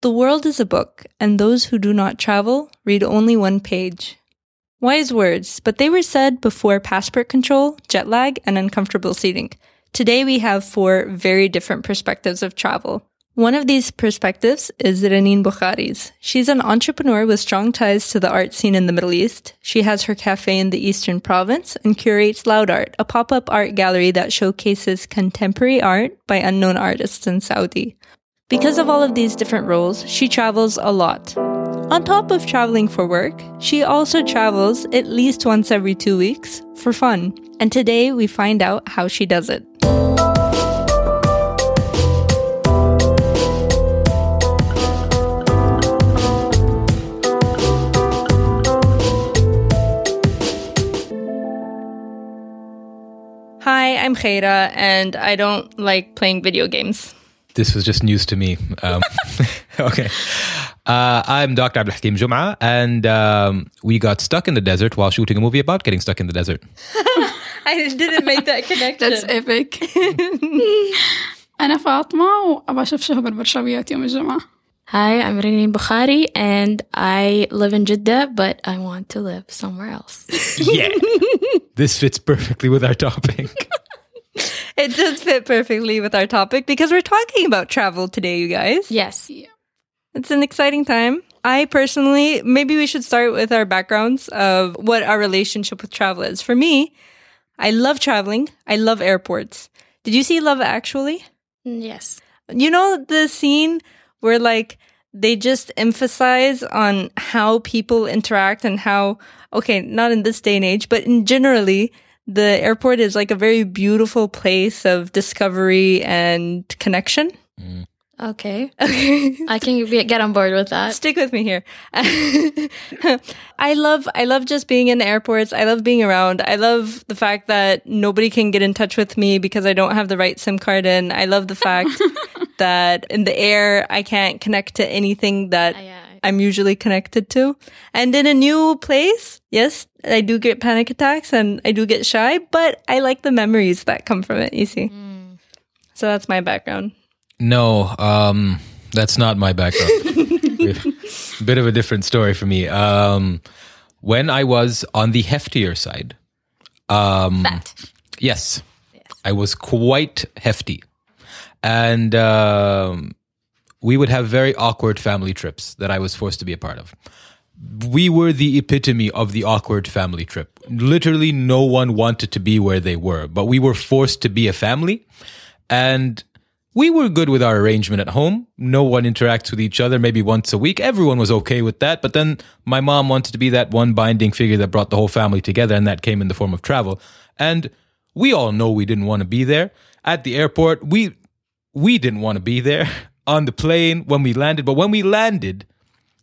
The world is a book, and those who do not travel read only one page. Wise words, but they were said before passport control, jet lag, and uncomfortable seating. Today we have four very different perspectives of travel. One of these perspectives is Reneen Bukhari's. She's an entrepreneur with strong ties to the art scene in the Middle East. She has her cafe in the Eastern Province and curates Loud Art, a pop-up art gallery that showcases contemporary art by unknown artists in Saudi. Because of all of these different roles, she travels a lot. On top of traveling for work, she also travels at least once every two weeks for fun. And today we find out how she does it. Hi, I'm Khaira, and I don't like playing video games. this was just news to me. Um, okay. Uh, I'm Dr. Abdul Hakim Jum'a, and um, we got stuck in the desert while shooting a movie about getting stuck in the desert. I didn't make that connection. That's epic. أنا فاطمة وأبغى أشوف شهب البرشاويات يوم الجمعة. Hi, I'm Renee Bukhari and I live in Jeddah, but I want to live somewhere else. Yeah. this fits perfectly with our topic. It does fit perfectly with our topic because we're talking about travel today, you guys. yes. It's an exciting time. I personally, maybe we should start with our backgrounds of what our relationship with travel is. For me, I love traveling. I love airports. Did you see Love Actually? Mm, Yes. You know the scene where like they just emphasize on how people interact and how okay, not in this day and age, but in generally the airport is like a very beautiful place of discovery and connection. Okay. Okay. I can be, get on board with that. Stick with me here. I love I love just being in airports. I love being around. I love the fact that nobody can get in touch with me because I don't have the right SIM card in. I love the fact that in the air I can't connect to anything that Uh, yeah. I'm usually connected to. And in a new place, yes, I do get panic attacks and I do get shy, but I like the memories that come from it, you see. So that's my background. No, um, that's not my background. Bit of a different story for me. Um, when I was on the heftier side, um, Fat. Yes. I was quite hefty. And um, we would have very awkward family trips that I was forced to be a part of. We were the epitome of the awkward family trip. Literally, no one wanted to be where they were, but we were forced to be a family. And we were good with our arrangement at home. No one interacts with each other maybe once a week. Everyone was okay with that. But then my mom wanted to be that one binding figure that brought the whole family together, and that came in the form of travel. And we all know we didn't want to be there. At the airport, we we didn't want to be there. On the plane when we landed, but when we landed,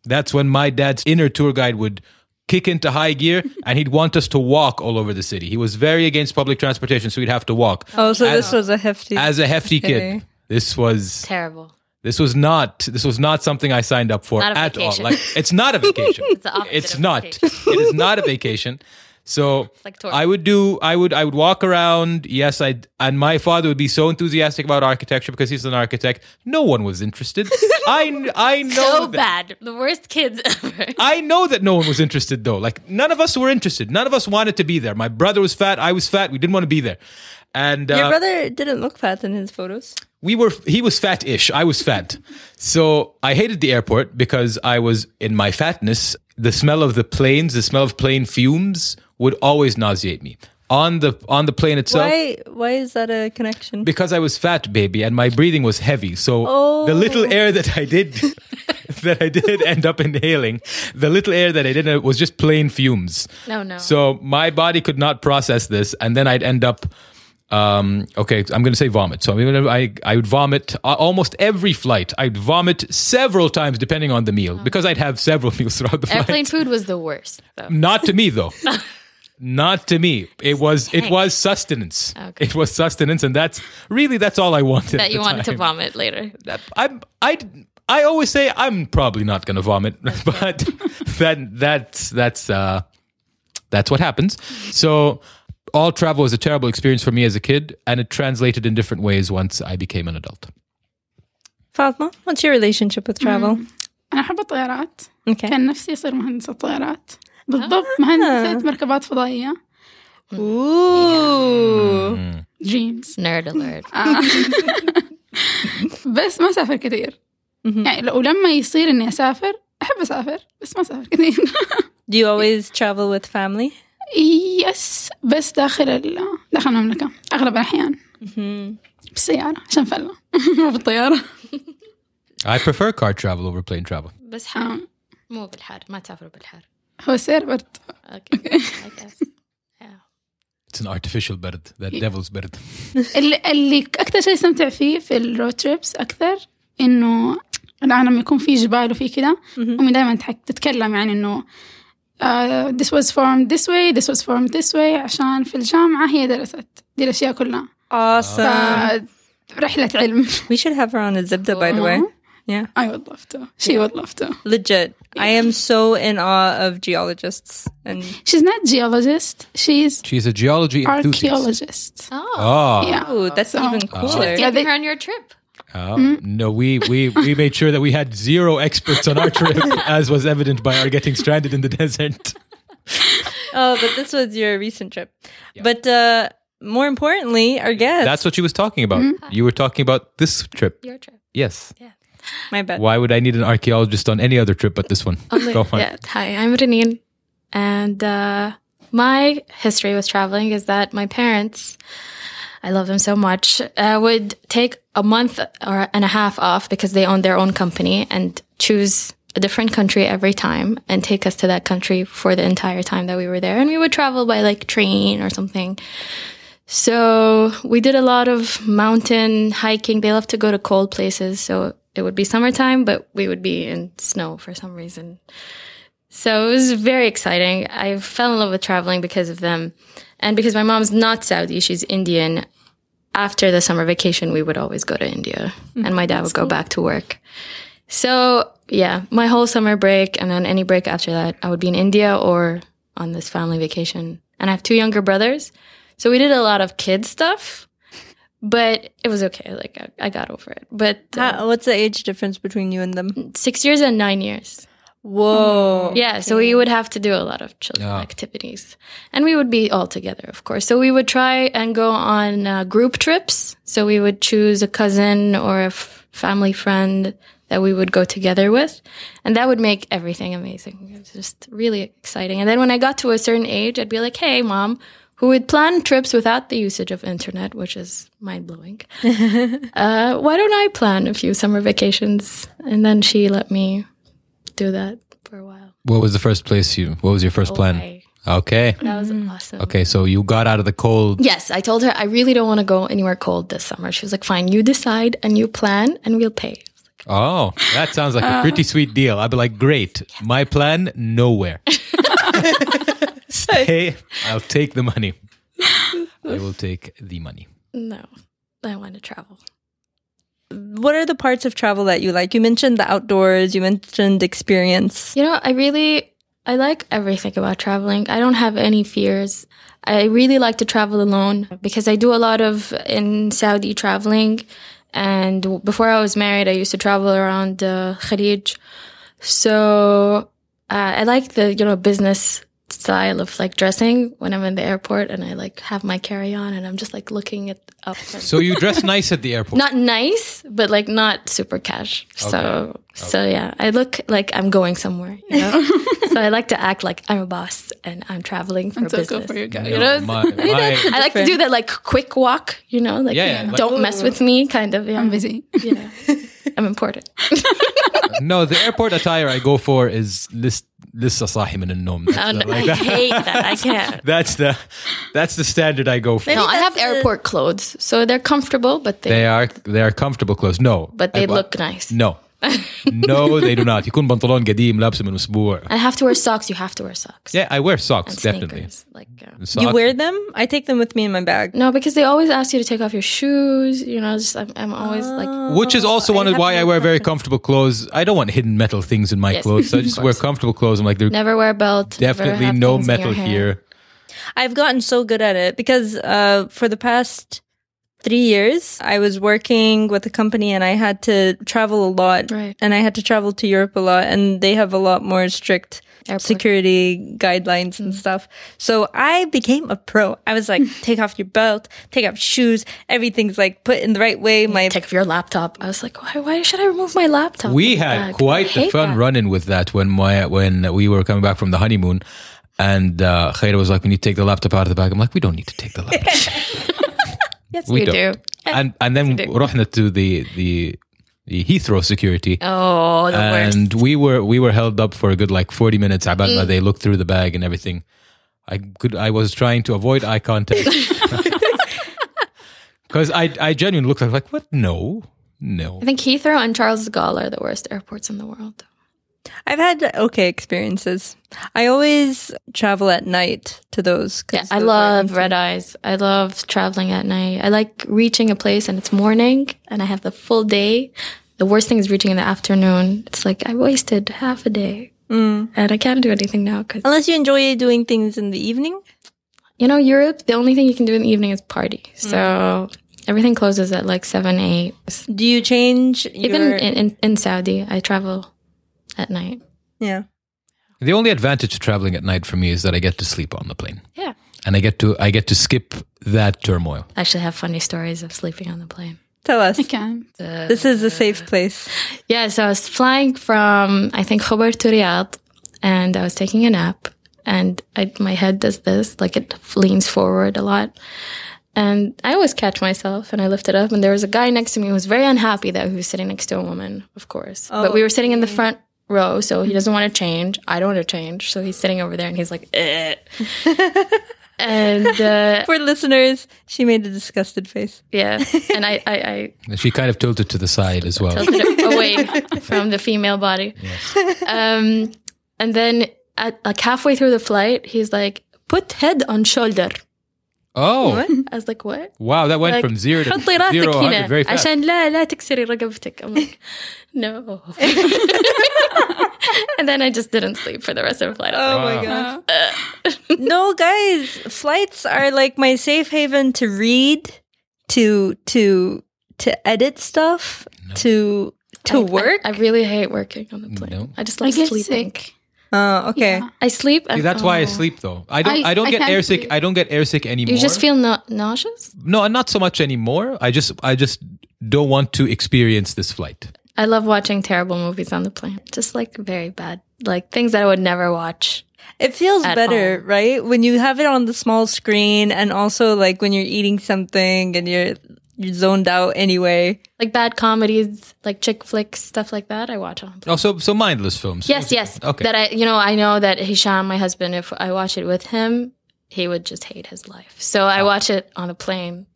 that's when my dad's inner tour guide would kick into high gear and he'd want us to walk all over the city. He was very against public transportation, so we'd have to walk. Oh, so As- this was a hefty As a hefty Okay. kid, this was Terrible. this was not this was not something I signed up for Not a at all. vacation. Like it's not a vacation. it's the opposite of not. vacation. It is not a vacation. So like torture. I would do I would I would walk around. Yes, I and my father would be so enthusiastic about architecture because he's an architect. No one was interested. I I know So that. bad. The worst kids ever. I know that no one was interested though. Like none of us were interested. None of us wanted to be there. My brother was fat. I was fat. We didn't want to be there. And Your uh, brother didn't look fat in his photos. we were he was fat-ish i was fat so i hated the airport because i was in my fatness the smell of the planes the smell of plane fumes would always nauseate me on the on the plane itself why why is that a connection? because i was fat baby and my breathing was heavy so the little Oh. air that i did that i did end up inhaling the little air that i did it was just plain fumes No, no. so my body could not process this, and then I'd end up. Um, okay, I'm going to say vomit. So I, mean, I I would vomit a- almost every flight. I'd vomit several times depending on the meal because I'd have several meals throughout the flight. Oh. Airplane food was the worst. Though. Not to me though. Not to me. It was it was sustenance. Okay. It was sustenance, and that's really that's all I wanted. at That you the wanted to time. vomit later. I'm I I always say I'm probably not going to vomit, but that that's that's uh that's what happens. So all travel was a terrible experience for me as a kid, and it translated in different ways once I became an adult. Fatma, what's your relationship with travel? Mm. أنا أحب الطيارات Okay. كان نفسي أصير مهندسة طيارات بالضبط مهندسة مركبات فضائية Ooh. Mm. دريمز Nerd alert. بس ما سافر كثير Mhm. يعني لو لما يصير إني أسافر أحب أسافر بس ما سافر كثير Do you always travel with family? يس بس داخل ال... داخل المملكة أغلب الأحيان Mhm. بالسيارة عشان فلة مو بالطيارة I prefer car travel over plane travel. بس حار آه، مو بالحار ما تسافروا بالحار. هو السير برد Okay. I guess. Yeah. It's an artificial bird, that devil's bird. اللي, اللي أكثر شيء استمتع فيه في الرود تريبس أكثر إنه الآن لما يكون في جبال وفي كذا Mhm. أمي دائما تتكلم يعني إنه آه، this was formed this way this was formed this way عشان في الجامعة هي درست دي الأشياء كلها uh, Awesome. آه. ف- رحلة علم We should have her on a Zibda, by the way. Uh-huh. Yeah. I would love to she would love to Legit. I am so in awe of geologists. And she's not geologist she's She's a geology enthusiast. archaeologist Oh. Oh, Yeah. oh, that's So- even cooler. Yeah, Taking they- her on your trip. Oh, no, we, we, we made sure that we had zero experts on our trip, as was evident by our getting stranded in the desert. Oh, but this was your recent trip. But uh, more importantly, our guest. That's what she was talking about. You were talking about this trip. Your trip. Yes. my bad. Why would I need an archaeologist on any other trip but this one? Go on. Yeah. Hi, I'm Renine. And uh, my history with traveling is that my parents, I love them so much, uh, would take a month or and a half off because they own their own company and choose a different country every time and take us to that country for the entire time that we were there. And we would travel by like train or something. So we did a lot of mountain hiking. They love to go to cold places. So it would be summertime, but we would be in snow for some reason. So it was very exciting. I fell in love with traveling because of them. And because my mom's not Saudi, she's Indian. After the summer vacation, we would always go to India and my dad would go back to work. So yeah, my whole summer break and then any break after that, I would be in India or on this family vacation. And I have two younger brothers. So we did a lot of kid stuff, but it was okay. Like I, I got over it. But uh, How- what's the age difference between you and Hmm. them? six years and nine years. Whoa. Yeah, so we would have to do a lot of children Yeah. activities. And we would be all together, of course. So we would try and go on uh, group trips. So we would choose a cousin or a f- family friend that we would go together with. And that would make everything amazing. It was just really exciting. And then when I got to a certain age, I'd be like, hey, mom, who would plan trips without the usage of internet, which is mind blowing. uh, why don't I plan a few summer vacations? And then she let me do that for a while. What was the first place you, what was your first plan? Hawaii. Okay. That was awesome. Okay. So you got out of the cold. Mm-hmm. Yes, I told her I really don't want to go anywhere cold this summer. She was like, "Fine, you decide and you plan, and we'll pay." Oh, that sounds like a pretty sweet deal. I'd be like, great. My plan, nowhere. Stay. I'll take the money. I will take the money. No, I want to travel. What are the parts of travel that you like? You mentioned the outdoors, you mentioned experience. You know, I really I like everything about traveling. I don't have any fears. I really like to travel alone because I do a lot of in Saudi traveling. And w- before I was married, I used to travel around uh, Kharij. So uh, I like the you know business style of like dressing when I'm in the airport and I like have my carry on and I'm just like looking it up. and- So you dress nice at the airport. not nice, but like not super cash. So so yeah, I look like I'm going somewhere. You know, so I like to act like I'm a boss and I'm traveling for and so go business. for your guys No, know, my- my- I like to do that like quick walk. You know, like Yeah, yeah, like- don't mess with me, kind of. Yeah, I'm busy Yeah, I'm important. no, the airport attire I go for is list لسه صاحي من النوم. That's, I, the, don't- like Um, I that, hate that. I can't. that's the that's the standard I go for. No, I that's have the- airport clothes, so they're comfortable, but they, They are they are comfortable clothes. No, but they I- look nice. No, no, they do not. يكون بنطلون قديم لابسه من أسبوع. I have to wear socks. You have to wear socks. Yeah, I wear socks and definitely. sneakers. Like. uh, You Socks. wear them? I take them with me in my bag. No, because they always ask you to take off your shoes. You know, just I'm, I'm always like, which is also one of why I wear very comfortable clothes. I don't want hidden metal things in my Yes, clothes. So I of just wear course. comfortable clothes. I'm like, there's never wear a belt. never definitely have no things in your metal hair. here. I've gotten so good at it because uh, for the past three years, I was working with a company and I had to travel a lot. Right. And I had to travel to Europe a lot, and they have a lot more strict Airport. Mm-hmm. security guidelines and stuff. So I became a pro. I was like, take off your belt, take off shoes, everything's like put in the right way. My Take your laptop. I was like, why, why should I remove my laptop? We from the had bag? I quite the hate fun that. run-in with that when my when we were coming back from the honeymoon, and uh, Khaira was like, "We need to take the laptop out of the bag." I'm like, "We don't need to take the laptop." Yes, we we, do. don't. and and then رحنا to the the the Heathrow security, Oh, the worst. and we were we were held up for a good like 40 minutes. عبال ما they looked through the bag and everything. I could I was trying to avoid eye contact because I I genuinely looked like like what no no I think Heathrow and Charles de Gaulle are the worst airports in the world. I've had okay experiences. I always travel at night to those. 'cause Yeah, I those are love empty. red eyes. I love traveling at night. I like reaching a place and it's morning and I have the full day. The worst thing is reaching in the afternoon. It's like I wasted half a day and I can't do anything now because, Unless you enjoy doing things in the evening. you know, Europe, the only thing you can do in the evening is party. So everything closes at like 7, 8. Do you change Even your, in, in, in Saudi, I travel at night. yeah? The only advantage to traveling at night for me is that I get to sleep on the plane. Yeah. And I get to I get to skip that turmoil. I actually have funny stories of sleeping on the plane. Tell us. Okay. This is a safe place. Yeah, so I was flying from I think Khobar to Riyadh, and I was taking a nap, and I, my head does this, like it leans forward a lot, and I always catch myself, and I lift it up, and there was a guy next to me who was very unhappy that he was sitting next to a woman, of course, but we were sitting in the front row, so he doesn't want to change, I don't want to change, so he's sitting over there, and he's like, eh. and uh, For listeners, she made a disgusted face. yeah, and I, I, I And she kind of tilted to the side as well. tilted away from the female body. Um, and then at like halfway through the flight, he's like, "Put head on shoulder." Oh I was like, "What?" wow, that went Like, from zero to حطي راسك zero to 100 very هنا fast. عشان لا لا تكسري رقبتك. I'm like, no. and then I just didn't sleep for the rest of the flight. I was Oh Wow. my gosh. no, guys, flights are like my safe haven to read, to to to edit stuff, to to like, I- work. I, really hate working on the plane. No. I just I love get sleeping. sick. oh, okay. Yeah. I sleep. See, and- that's why I oh. sleep though. I don't I, I- don't I get can't airsick. sleep. I don't get airsick anymore. You just feel na- nauseous. No, not so much anymore. I just I just don't want to experience this flight. I love watching terrible movies on the plane. Just like very bad, like things that I would never watch. It feels At better, right? When you have it on the small screen and also like when you're eating something and you're you're zoned out anyway. Like bad comedies, like chick flicks, stuff like that. I watch on. the plane. Oh, so so mindless films. Yes, yes. Okay. That I, you know, I know that Hisham, my husband, if I watch it with him, he would just hate his life. So I watch it on a plane.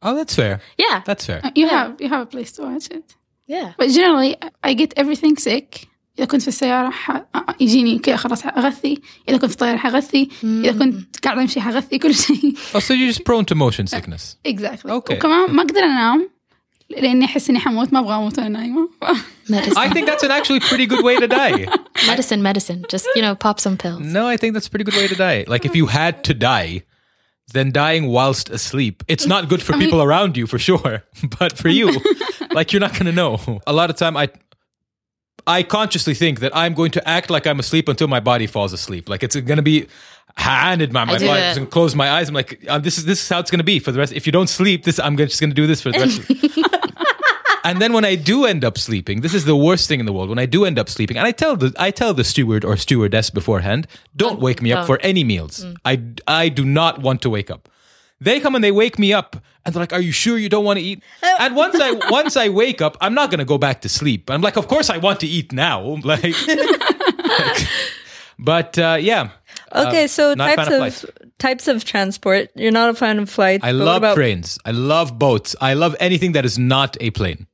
oh, that's fair. Yeah, That's fair. You have you have a place to watch it. yeah. But generally I get everything sick. إذا كنت في السيارة ح... يجيني كذا خلاص حغثي، إذا كنت في الطيارة حغثي، إذا كنت قاعدة أمشي حغثي كل شيء. Oh, so you're just prone to motion sickness. exactly. Okay. وكمان ما أقدر أنام لأني أحس إني حموت ما أبغى أموت وأنا نايمة. Medicine, I think that's an actually pretty good way to die. medicine, medicine. Just you know, pop some pills. No, I think that's a pretty good way to die. Like if you had to die, then dying whilst asleep, it's not good for people around you for sure, but for you, like you're not going to know. A lot of time I I consciously think that I'm going to act like I'm asleep until my body falls asleep. Like it's going to be handed my, my do body that. and close my eyes. I'm like uh, this is this is how it's going to be for the rest. If you don't sleep, this I'm gonna, just going to do this for the rest. Of And then when I do end up sleeping, this is the worst thing in the world. When I do end up sleeping, and I tell the I tell the steward or stewardess beforehand, don't wake Oh. me up for any meals. Mm. I I do not want to wake up. They come and they wake me up and they're like, "Are you sure you don't want to eat?" And once I once I wake up, I'm not going to go back to sleep. I'm like, "Of course I want to eat now." Like, but uh, yeah, Okay, so not a types fan of of, types of transport. You're not a fan of flights. I but love what about, trains. I love boats. I love anything that is not a plane.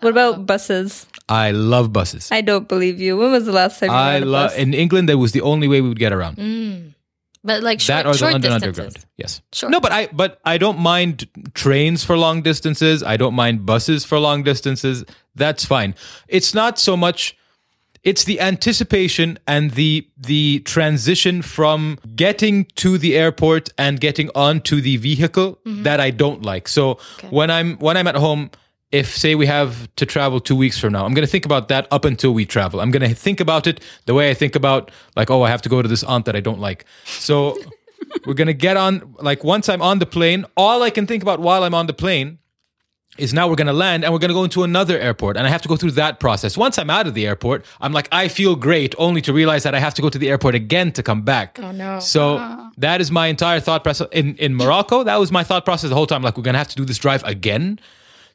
What about buses? I love buses. I don't believe you. When was the last time you I rode a love bus? in England. That was the only way we would get around. But like that short, or the short London distances. Underground. Yes. Sure. No, but I but I don't mind trains for long distances. I don't mind buses for long distances. That's fine. It's not so much It's the anticipation and the the transition from getting to the airport and getting onto the vehicle Mm-hmm. that I don't like. So when I'm when I'm at home, if say we have to travel two weeks from now, I'm going to think about that up until we travel. I'm going to think about it the way I think about like, oh, I have to go to this aunt that I don't like. So we're going to get on like once I'm on the plane, all I can think about while I'm on the plane is now we're going to land and we're going to go into another airport and I have to go through that process. Once I'm out of the airport, I'm like, I feel great only to realize that I have to go to the airport again to come back. Oh no. So that is my entire thought process in, in Morocco. That was my thought process the whole time. Like we're going to have to do this drive again.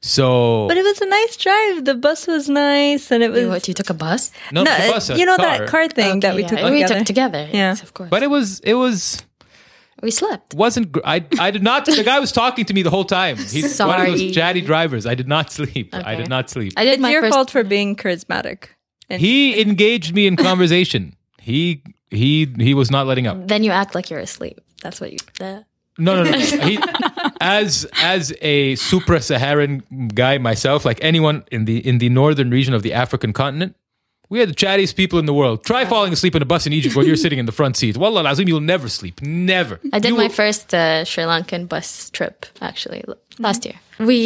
So But it was a nice drive. The bus was nice, and it was What, you took a bus? no, no, the uh, bus, a you know that car thing that we Yeah, took We together. took together. Yeah. Yes, of course. But it was, it was, we slept. wasn't gr- I I did not the guy was talking to me the whole time. He's one of Sorry. those chatty drivers. I did not sleep. I did Okay. not sleep. I did It's my your first. fault for being charismatic. And he engaged me in conversation. he he he was not letting up. Then you act like you're asleep. That's what you. The, No, no, no. He, as as a supra-Saharan guy myself, like anyone in the in the northern region of the African continent, we are the chattiest people in the world. Try falling asleep in a bus in Egypt while you're sitting in the front seat. Wallah lazim, you'll never sleep. Never. I did You my will- first uh, Sri Lankan bus trip actually l- last year. We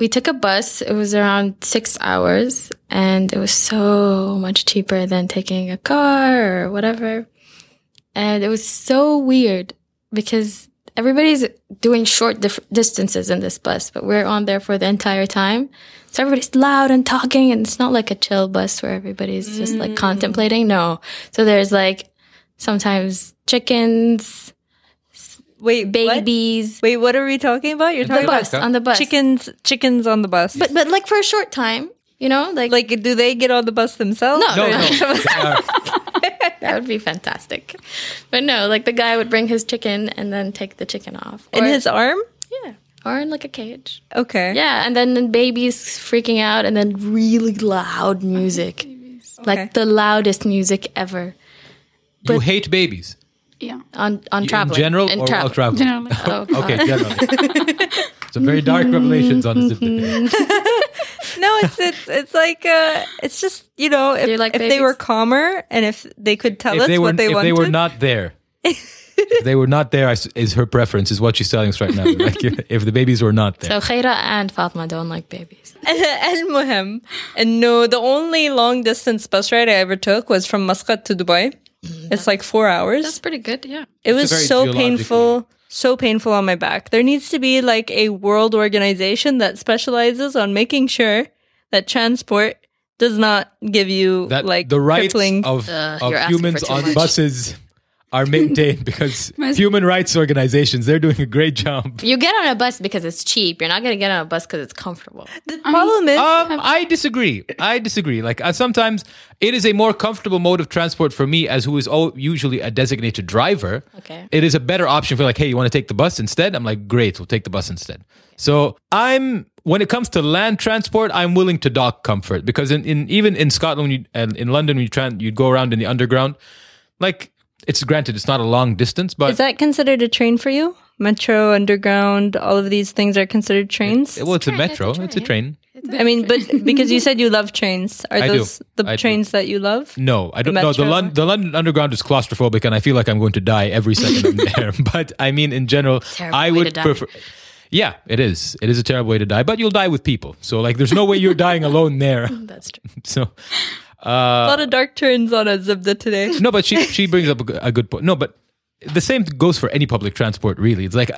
we took a bus. It was around six hours, and it was so much cheaper than taking a car or whatever. And it was so weird because everybody's doing short dif- distances in this bus, but we're on there for the entire time. So everybody's loud and talking, and it's not like a chill bus where everybody's just like contemplating. No, so there's like sometimes chickens wait, what? babies Wait, what are we talking about? You're the talking bus huh? on the about bus chickens. Chickens on the bus. but but like for a short time you know like, like, do they get on the bus themselves? No, No, no. Uh, They are- that would be fantastic but no like the guy would bring his chicken and then take the chicken off in Or- his arm. yeah or in like a cage Okay. yeah and then the babies freaking out and then really loud music Okay. like the loudest music ever you hate babies Yeah. on on traveling in general In or travel. while traveling. Generally. Oh, God. Okay, generally. Some very dark revelations on this diptych. No, it's it's it's like uh, it's just you know if, you like if they babies? were calmer and if they could tell us If they were, what they if wanted. they were not there, if they were not there, I s- is her preference, is what she's telling us right now. Like, if the babies were not there. so Khaira and Fatma don't like babies Al-Muhim. And no, the only long distance bus ride I ever took was from Muscat to Dubai. It's like four Mm-hmm. that's hours. pretty good yeah It a was very so geologically- painful, so painful on my back. There needs to be like a world organization that specializes on making sure that transport does not give you that like the rights crippling. of, of Ugh, uh, you're asking humans for too on much. buses are maintained because My- human rights organizations, they're doing a great job. you get on a bus because it's cheap you're not gonna get on a bus because it's comfortable the problem is Um, I disagree. I disagree. Like uh, sometimes it is a more comfortable mode of transport for me, as who is al- usually a designated driver. Okay. it is a better option for like, hey, you want to take the bus instead? I'm like, great, we'll take the bus instead. So I'm when it comes to land transport, I'm willing to dock comfort because in, in even in Scotland when you, and in London, when you try you'd go around in the underground, like. It's granted, it's not a long distance, but Is that considered a train for you? Metro, underground, all of these things are considered trains. well, it's a Train, it's a metro, it's a train. I mean, but because you said you love trains, are I do. those the I do. Uh, trains that you love? No, I don't know. metro? The, Lon- the London Underground is claustrophobic, and I feel like I'm going to die every second I'm there. But I mean, in general, Terrible I way would to die. prefer. Yeah, it is. It is a terrible way to die, but you'll die with people. So, like, there's no way you're dying alone there. that's true So, a lot of dark turns on us of the today. no, but she she brings up a, g- a good point. No, but the same goes for any public transport. Really, it's like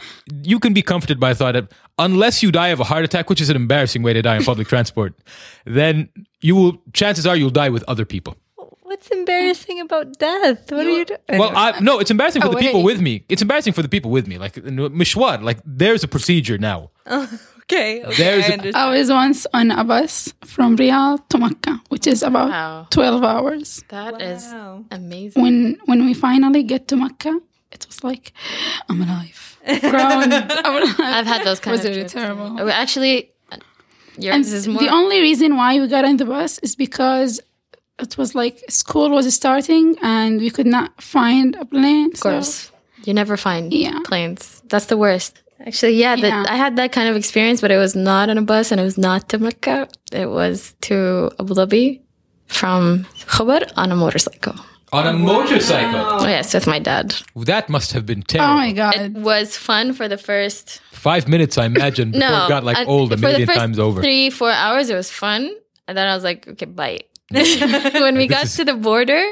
you can be comforted by the thought that unless you die of a heart attack, which is an embarrassing way to die in public transport, then you will. Chances are you'll die with other people. What's embarrassing about death? What are you doing? Well, I, no, it's embarrassing for Oh, the wait. people with me. It's embarrassing for the people with me. Like n- Mishwar, like there's a procedure now. okay, okay, there's I a- understand. I was once on a bus from Riyadh to Mecca, which is about Wow. 12 hours. Oh, That is Wow. amazing. When when we finally get to Mecca, it was like, I'm alive. Ground. I'm alive. I've had those kind was of really trips. terrible. Oh, Actually, uh, And yours is more. the only reason why we got on the bus is because it was like school was starting and we could not find a plane. of course, you never find Yeah. planes. That's the worst. Actually, yeah, that Yeah. I had that kind of experience, but it was not on a bus and it was not to Mecca. It was to Abu Dhabi. from Khobar on a motorcycle. on Oh, a motorcycle. Yes, with my dad. That must have been Oh terrible. my It god. was fun for the first Five minutes, I imagine, before no it got like I- old a for the million first times over. Three four hours, it was fun, and then I was like, okay, bye. when we got to the border,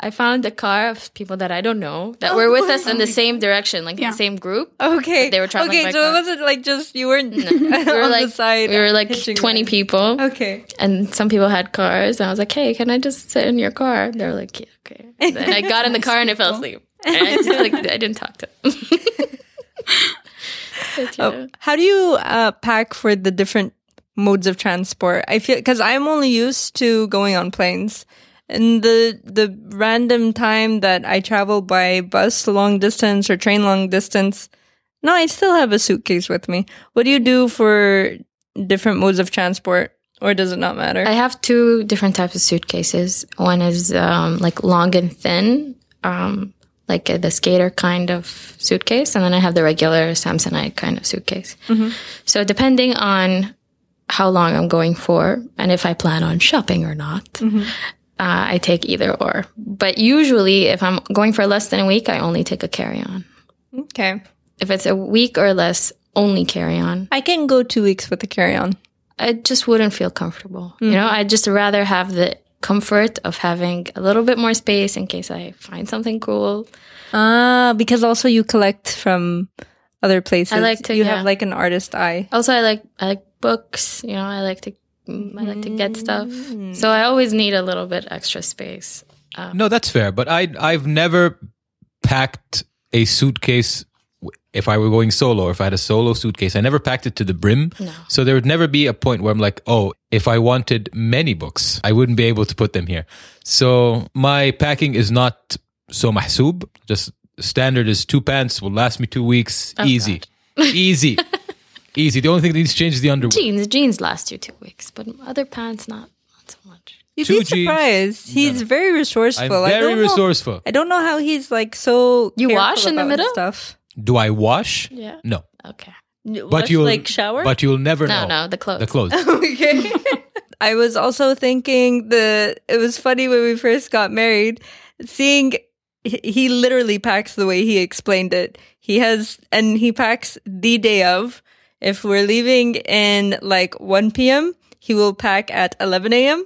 I found a car of people that I don't know that Oh were with us in the same direction, like Yeah. the same group. Okay. They were traveling Okay, by so it car. wasn't like just you weren't We were on like the side. we were like hitching twenty ride. people, Okay. and some people had cars. And I was like, hey, can I just sit in your car? They were like, yeah, okay. And I got in the car and I fell asleep. And I just like I didn't talk to. Them. But, yeah. Oh, how do you uh, pack for the different modes of transport? I feel because I'm only used to going on planes, and the the random time that I travel by bus long distance or train long distance, no, I still have a suitcase with me. What do you do for different modes of transport, or does it not matter? I have two different types of suitcases. One is um, like long and thin, um, like uh, the skater kind of suitcase, and then I have the regular Samsonite kind of suitcase. So depending on how long I'm going for and if I plan on shopping or not, uh, I take either or. But usually, if I'm going for less than a week, I only take a carry on. okay, If it's a week or less, only carry on. I can go two weeks with a carry on. I just wouldn't feel comfortable. You know, I'd just rather have the comfort of having a little bit more space in case I find something cool. Ah, because also you collect from other places. I like to- You yeah. have like an artist eye. Also, I like I like books. You know, I like to mm, I like to get stuff. So I always need a little bit extra space. No, that's fair. But I I've never packed a suitcase w- if I were going solo or if I had a solo suitcase. I never packed it to the brim. So there would never be a point where I'm like, oh, if I wanted many books, I wouldn't be able to put them here. So my packing is not so mahsoob. Just standard is two pants will last me two weeks. Oh, Easy. Easy. Easy. The only thing that needs to change is the underwear. Jeans, jeans last you two weeks, but other pants not not so much. You'd Two be jeans. surprised. He's very I'm resourceful. I very don't know- resourceful. I don't know how he's like so. You careful wash in the about middle? stuff. Do I wash? Yeah. No. Okay. But But you'll like shower. But you'll never No, know. no, the clothes. The clothes. okay. I was also thinking the. It was funny when we first got married, seeing he- he literally packs the way he explained it. He has and he packs the day of. If we're leaving in like one p.m., he will pack at eleven a.m.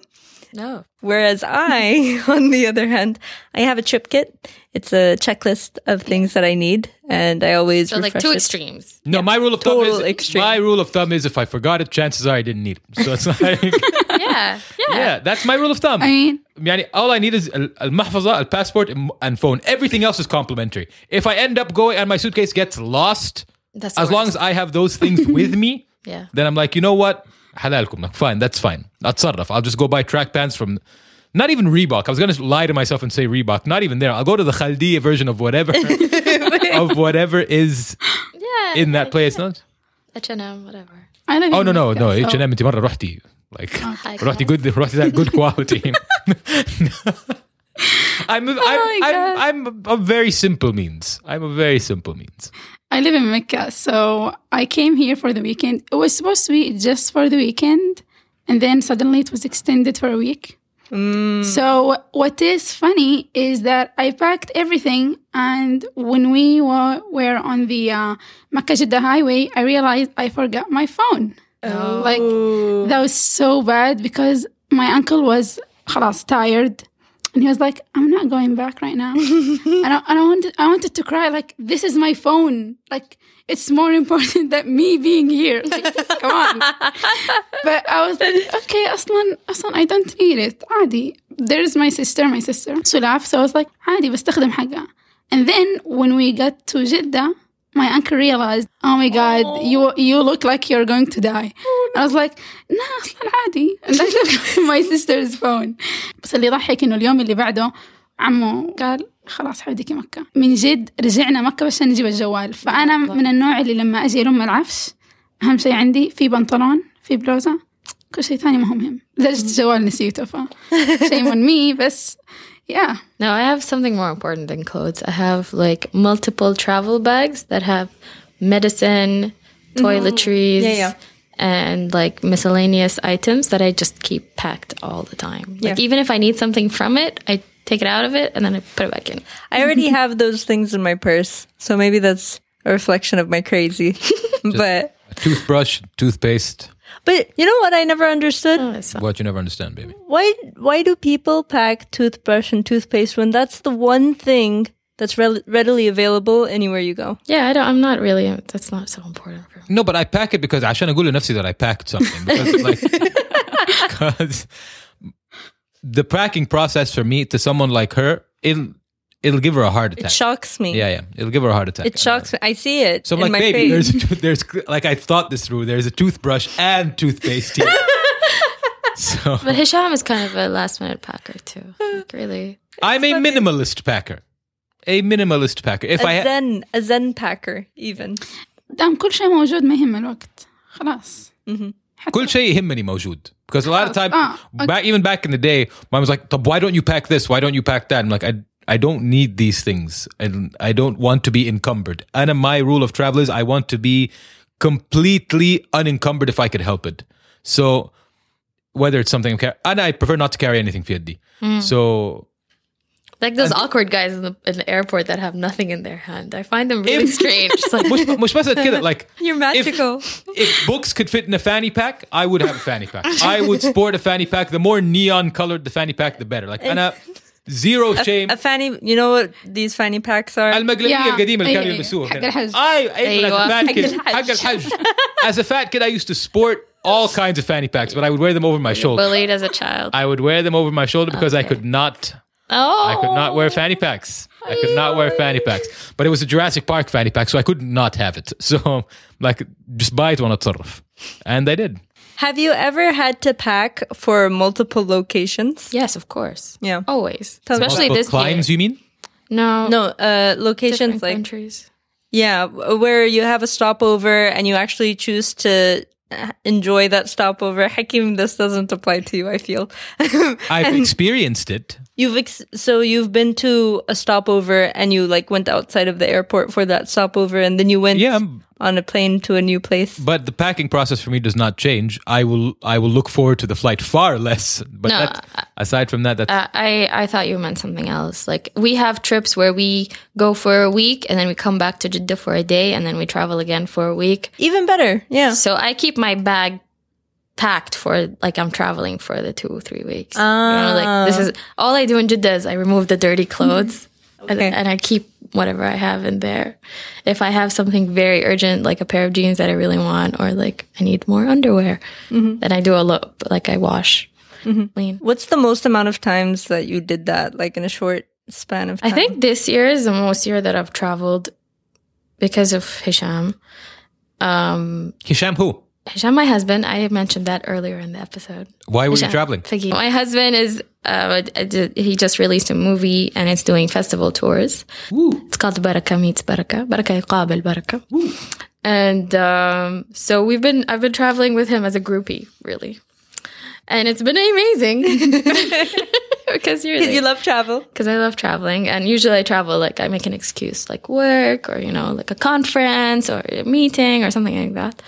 No. Whereas I, on the other hand, I have a trip kit. It's a checklist of things that I need, and I always So like refresh two it. extremes. No, my rule of thumb Total is extreme. my rule of thumb is if I forgot it, chances are I didn't need it. So it's like, Yeah. Yeah. yeah, that's my rule of thumb. I mean, Yani, all I need is al mahfaza, al passport, and- and phone. Everything else is complimentary. If I end up going and my suitcase gets lost, That's the as long as worst. I have those things with me, Yeah. then I'm like, you know what, halalkum, Like, fine, that's fine. Atsarraf. I'll just go buy track pants from. Not even Reebok. I was gonna lie to myself and say Reebok. Not even there. I'll go to the Khaldiya version of whatever, of whatever is Yeah. in that place. No? H&M, whatever. I don't Oh even no no like no! that, H so- and M انت مره رحتي like Okay. رحتي good رحتي that good quality. I'm a, I'm, Oh my God. I'm I'm a very simple means. I'm a very simple means. I live in Mecca, so I came here for the weekend. It was supposed to be just for the weekend, and then suddenly it was extended for a week. So what is funny is that I packed everything, and when we were, were on the uh, Mecca Jeddah highway, I realized I forgot my phone. Like that was so bad because my uncle was خلاص tired. And he was like, "I'm not going back right now." and I, and I wanted, I wanted to cry. Like, this is my phone. Like, it's more important than me being here. Like, come on. but I was like, okay, aslan, aslan, I don't need it. Adi, there's my sister, my sister Sulaf. So I was like, Adi, بستخدم حقها. And then when we got to Jeddah, my uncle realized, oh my god, you you look like you're going to die. I was like, no, اصلا عادي. And I took my sister's phone. بس اللي يضحك انه اليوم اللي بعده عمو قال خلاص حوديكي مكة من جد رجعنا مكة بس عشان نجيب الجوال فأنا من النوع اللي لما أجي ألم العفش أهم شيء عندي في بنطلون في بلوزة كل شيء ثاني ما هو مهم لدرجة الجوال نسيته ف شيء من مي بس يا No, I have something more important than clothes. I have like Mm-hmm. multiple travel bags that have medicine, toiletries, Yeah, yeah. and like miscellaneous items that I just keep packed all the time. Like Yeah. even if I need something from it, I take it out of it and then I put it back in. I already have those things in my purse, so maybe that's a reflection of my crazy. but A toothbrush, toothpaste. but you know what I never understood? Oh, it's- What you never understand, baby. Why why do people pack toothbrush and toothpaste when that's the one thing that's rel readily available anywhere you go? Yeah, I don't. I'm not really. That's not so important for me. No, but I pack it because عشان أقول لنفسي that I packed something. Because like, 'cause the packing process for me to someone like her, it'll it'll give her a heart It attack. shocks me. yeah, yeah, it'll give her a heart attack. It shocks me. I see it So I'm in like, my baby, face. there's a tooth- there's cl- like I thought this through. There's a toothbrush and toothpaste here. so But Hisham is kind of a last minute packer too. Like, really, I'm a minimalist packer. A minimalist packer. If a I ha- zen a zen packer even. دام كل شيء موجود ما يهم الوقت خلاص كل شيء يهمني موجود. Because a lot of time, Ah, back, even back in the day, mom was like, "طب why don't you pack this? Why don't you pack that? I'm like, I, I don't need these things. And I don't want to be encumbered. And my rule of travel is I want to be completely unencumbered if I could help it. So whether it's something I'm car- and I prefer not to carry anything في يدي. So like those awkward guys in the, in the airport that have nothing in their hand. I find them really strange. It's like, مش مش بس كده like You're magical. If, if books could fit in a fanny pack, I would have a fanny pack. I would sport a fanny pack. The more neon colored the fanny pack, the better. Like أنا zero shame. A fanny, you know what these fanny packs are? المقلبية Yeah. القديمة اللي كانوا أي- يلبسوها حق كده. الحج. I I- as a fat أيوة. حق kid الحج. حق الحج. As a fat kid I used to sport all kinds of fanny packs, but I would wear them over my shoulder. bullied as a child. I would wear them over my shoulder because I Okay. could not oh, I could not wear fanny packs. I could not wear fanny packs. But it was a Jurassic Park fanny pack, so I could not have it. So, like, just buy it when it's And I did. Have you ever had to pack for multiple locations? Yes, of course. Yeah. Oh, always, Tell me. especially Multiple this climes, year. you mean? No, No, uh, locations different like countries. Yeah, w- where you have a stopover and you actually choose to uh, enjoy that stopover. Hakim, this doesn't apply to you, I feel. I've experienced it. you've ex- so you've been to a stopover and you like went outside of the airport for that stopover and then you went Yeah, m- on a plane to a new place. But the packing process for me does not change. I will I will look forward to the flight far less. But No, that, aside from that, that's Uh, I I thought you meant something else. Like we have trips where we go for a week and then we come back to Jeddah for a day and then we travel again for a week. Even better. Yeah. So I keep my bag packed for like I'm traveling for the two or three weeks. You know, like this is all I do in Jeddah is I remove the dirty clothes and, Okay. and I keep whatever I have in there. If I have something very urgent, like a pair of jeans that I really want, or like I need more underwear, then I do a lot. Like I wash clean. What's the most amount of times that you did that like in a short span of I time? think this year is the most year that I've traveled because of Hisham. Um, Hisham who? Hisham, my husband, I mentioned that earlier in the episode. Why were Hisham you traveling? Fagi. My husband is, uh, he just released a movie and it's doing festival tours. It's called Baraka Meets Baraka. Baraka يقابل Baraka. And um, so we've been, I've been traveling with him as a groupie, really. And it's been amazing. Because you're Because there you love travel. because I love traveling. And usually I travel like I make an excuse, like work or, you know, like a conference or a meeting or something like that.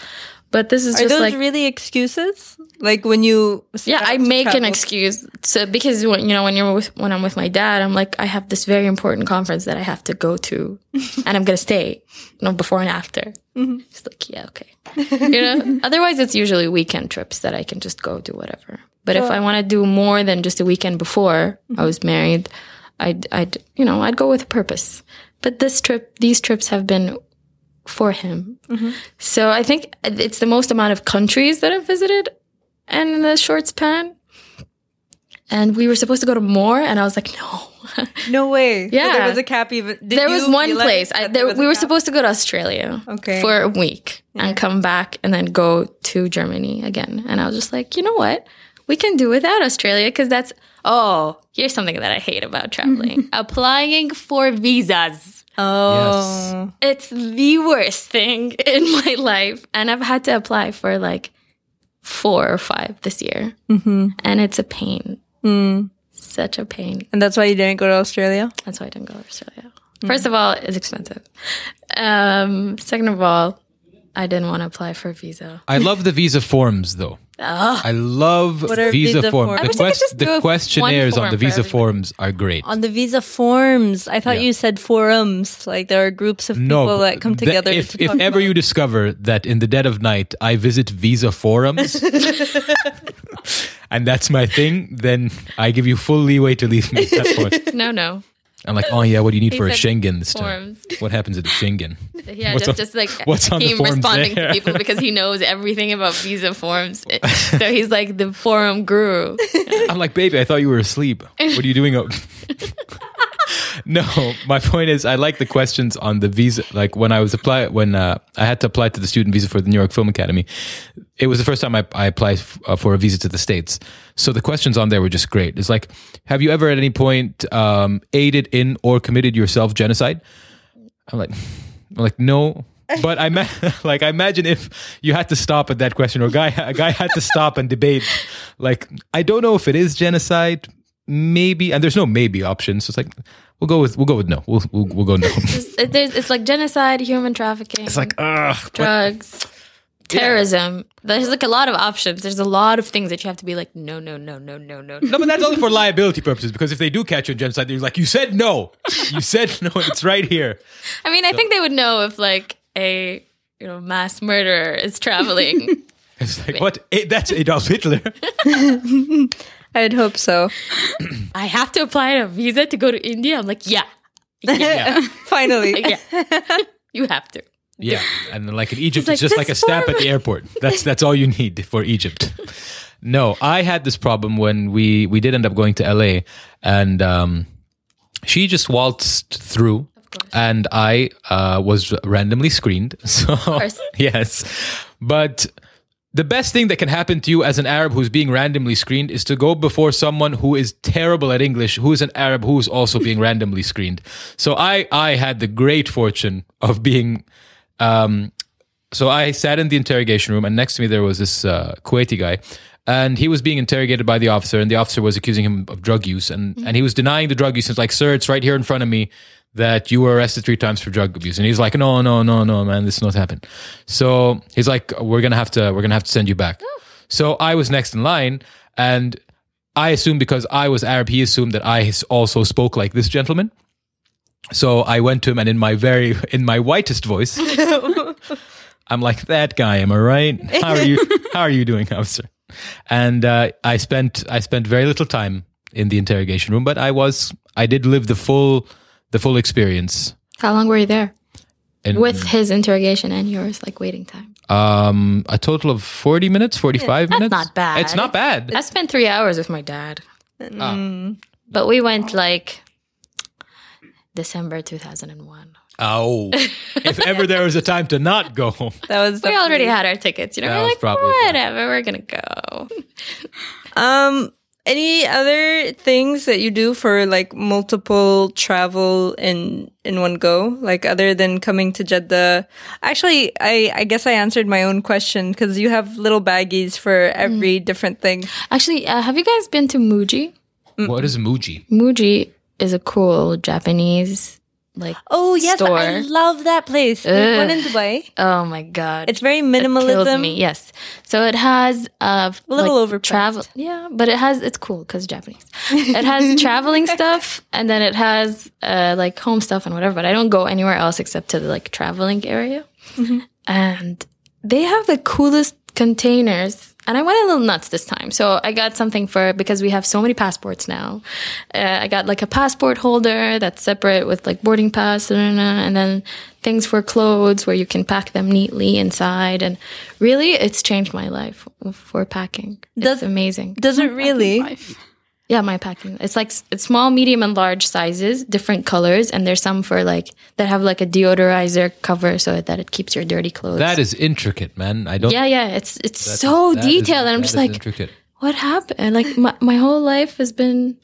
But this is Are just those like, really excuses? Like when you yeah, I start to make an travel? excuse. So because when, you know, when you're with, when I'm with my dad, I'm like, I have this very important conference that I have to go to and I'm going to stay, you know, before and after. Mm-hmm. It's like, yeah, okay. You know, otherwise it's usually weekend trips that I can just go do whatever. But if I want to do more than just a weekend before Mm-hmm. I was married, I'd, I'd, you know, I'd go with a purpose. But this trip, these trips have been for him. Mm-hmm. So I think it's the most amount of countries that I've visited and in a short span. And we were supposed to go to more, and I was like, no. No way. So Yeah. there was a cap even. Did there you was one realize place. I, that there, was a we were cap? supposed to go to Australia Okay. for a week and come back and then go to Germany again. And I was just like, you know what? We can do without Australia because that's, oh, here's something that I hate about traveling applying for visas. Oh. It's the worst thing in my life. And I've had to apply for like four or five this year. Mm-hmm. And it's a pain. Mm. Such a pain. And that's why you didn't go to Australia? That's why I didn't go to Australia. First of all, it's expensive. Um, second of all, I didn't want to apply for a visa. I love the visa forms though. Ugh. I love What are visa, visa forms. forms? I The, wish Ah. I could quest- just do the a- questionnaires one on the form for visa everything. forms are great. On the visa forms, I thought Yeah. you said forums. Like there are groups of no, people that come the- together. if to if talk ever about- you discover that in the dead of night I visit visa forums, and that's my thing, then I give you full leeway to leave me at that point. No, no. I'm like, oh yeah, what do you need for a said Schengen this forms. time? What happens at the Schengen? Yeah, What's just, on- just like what's on the him forms responding there? to people because he knows everything about visa forms. so he's like the forum guru. I'm like, baby, I thought you were asleep. What are you doing? Up? no, my point is, I like the questions on the visa. Like when I was apply, when uh, I had to apply to the student visa for the New York Film Academy, it was the first time I, I applied f- uh, for a visa to the states. So the questions on there were just great. It's like, have you ever at any point um, aided in or committed yourself genocide? I'm like, I'm like no. But I ma- like I imagine if you had to stop at that question, or a guy a guy had to stop and debate. Like I don't know if it is genocide, maybe, and there's no maybe option. So it's like we'll go with we'll go with no. We'll we'll, we'll go no. it's Just- There's, it's like genocide, human trafficking, it's like ugh. what- drugs, terrorism. There's like a lot of options. There's a lot of things that you have to be like, no, no, no, no, no, no. No, but that's only for liability purposes. Because if they do catch you in genocide, they're like, you said no, you said no. It's right here. I mean, I think they would know if like a you know mass murderer is traveling. It's like what? Eh, that's Adolf Hitler. I'd hope so. I have to apply a visa to go to India. I'm like, yeah, Finally, yeah, you have to. Yeah, and then, like in Egypt, like, it's just like a "This stamp form." at the airport. That's that's all you need for Egypt. No, I had this problem when we we did end up going to LA, and um, she just waltzed through, and I uh, was randomly screened. So course. yes, but. The best thing that can happen to you as an Arab who's being randomly screened is to go before someone who is terrible at English, who is an Arab who's also being randomly screened. So I I had the great fortune of being um, so I sat in the interrogation room, and next to me there was this uh, Kuwaiti guy, and he was being interrogated by the officer, and the officer was accusing him of drug use, and and he was denying the drug use. It's like, sir, it's right here in front of me that you were arrested three times for drug abuse, and he's like, no, no, no, no, man, this did not happen. So he's like, we're gonna have to, we're gonna have to send you back. So I was next in line, and I assumed because I was Arab, he assumed that I also spoke like this gentleman. So I went to him, and in my very in my whitest voice. I'm like that guy. Am I right? How are you? How are you doing, officer? And uh, I spent I spent very little time in the interrogation room, but I was I did live the full the full experience. How long were you there And, with his interrogation and yours, like waiting time? um a total of forty minutes, forty five minutes. not bad. It's not bad. I spent three hours with my dad, Mm. but we went like December 2001. Oh, if ever there was a time to not go, that was. We already definitely- had our tickets, you know. That We're was like, probably- whatever, we're gonna go. Um, any other things that you do for like multiple travel in in one go? Like other than coming to Jeddah? Actually, I I guess I answered my own question because you have little baggies for every different thing. Actually, uh, have you guys been to Muji? what is Muji? Muji is a cool Japanese, like Oh yes, I Store. love that place. There's one in Dubai. oh my god, It's very kills minimalism. me. Yes. So it has A uh, little like, overpriced. travel. Yeah, but it has it's cool because Japanese. It has traveling stuff, and then it has uh, like home stuff and whatever. But I don't go anywhere else except to the like traveling area, and they have the coolest containers. And I went a little nuts this time, so I got something for because we have so many passports now. Uh, I got like a passport holder that's separate with like boarding pass, da, da, da, and then things for clothes where you can pack them neatly inside. And really, it's changed my life for packing. Does- it's amazing. Does it really? Life. Yeah, my packing. It's like s- it's small, medium, and large sizes, different colors, and there's some for like that have like a deodorizer cover so that it keeps your dirty clothes. That is intricate, man. I don't. yeah, yeah. It's it's so that is- detailed, and I'm that just is like, intricate. what happened? Like my, my whole life has been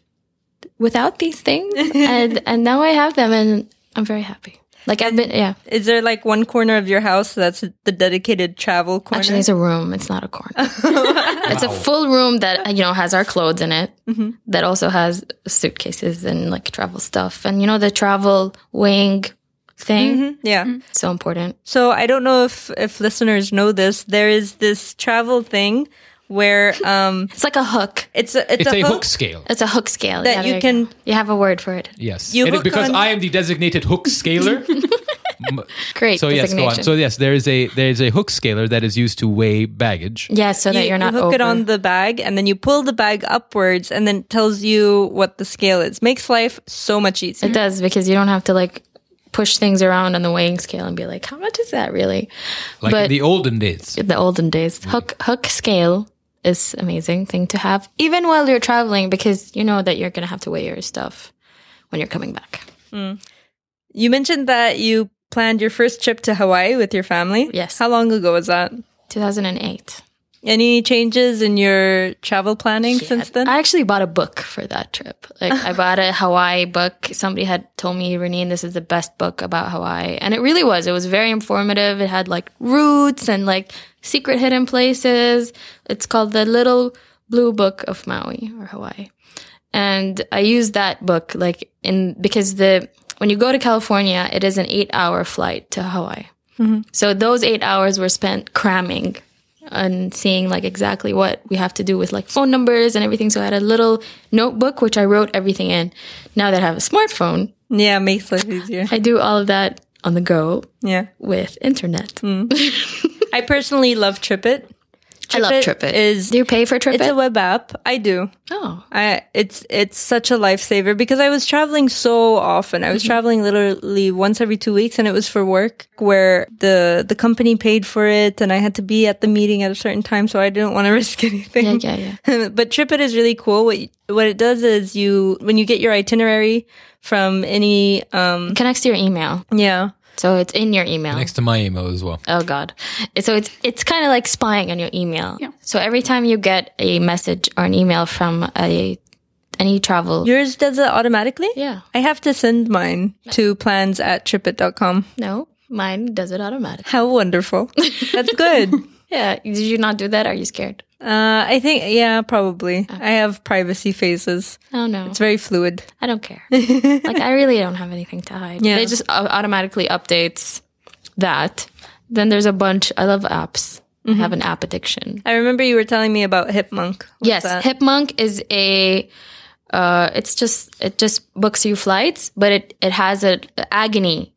without these things, and and now I have them, and I'm very happy. Like I've been, yeah. Is there like one corner of your house that's the dedicated travel corner? Actually, it's a room. It's not a corner. it's a full room that you know has our clothes in it. Mm-hmm. That also has suitcases and like travel stuff. And you know the travel wing thing. Yeah. So important. So I don't know if if listeners know this. There is this travel thing where um It's like a hook. it's a it's, It's a hook hook scale. It's a hook scale. That Yeah, you there can- go. You have a word for it. Yes. You And it- hook because on- I am the designated hook scaler. M- Great. so yes, go on. designation. So yes, there is a there is a hook scaler that is used to weigh baggage. yeah, so that you- you're not you hook over. it on the bag and then you pull the bag upwards and then it tells you what the scale is. Makes life so much easier. It does because you don't have to like push things around on the weighing scale and be like, how much is that really? Like but in the olden days. the olden days, hook hook scale is amazing thing to have even while you're traveling because you know that you're gonna have to weigh your stuff when you're coming back. You mentioned that you planned your first trip to Hawaii with your family. Yes. How long ago was that? 2008. Any changes in your travel planning since then? I actually bought a book for that trip. Like I bought a Hawaii book. Somebody had told me, Reneen, this is the best book about Hawaii. And it really was. It was very informative. It had like roots and like secret hidden places. It's called The Little Blue Book of Maui or Hawaii. And I used that book like in because the when you go to California, it is an 8-hour flight to Hawaii. So those eight hours were spent cramming and seeing like exactly what we have to do with like phone numbers and everything. So I had a little notebook which I wrote everything in. Now that I have a smartphone, yeah, makes life easier. I do all of that on the go Yeah. with internet. I personally love TripIt. I love TripIt. Is do you pay for it's a TripIt? web app. I do. oh, I it's it's such a lifesaver because I was traveling so often. Mm-hmm. I was traveling literally once every two weeks, and it was for work, where the the company paid for it, and I had to be at the meeting at a certain time, so I didn't want to risk yeah, anything. yeah, yeah. but TripIt is really cool. What you, what it does is you when you get your itinerary from any um It connects to your email, yeah so it's in your email. Next to my email as well. Oh God! So it's it's kind of like spying on your email. Yeah. So every time you get a message or an email from a any travel, yours does it automatically. yeah, I have to send mine to plans at tripit.com. no, mine does it automatically. How wonderful. That's good. Yeah. Did you not do that? Are you scared? Uh, I think, yeah, probably. Ah. I have privacy phases. Oh no, It's very fluid. I don't care. like I really don't have anything to hide. Yeah. They just au- automatically updates that. Then there's a bunch. I love apps. I have an app addiction. I remember you were telling me about Hipmonk. What's yes, that? Hipmonk is a. Uh, it's just it just books you flights, but it it has a agony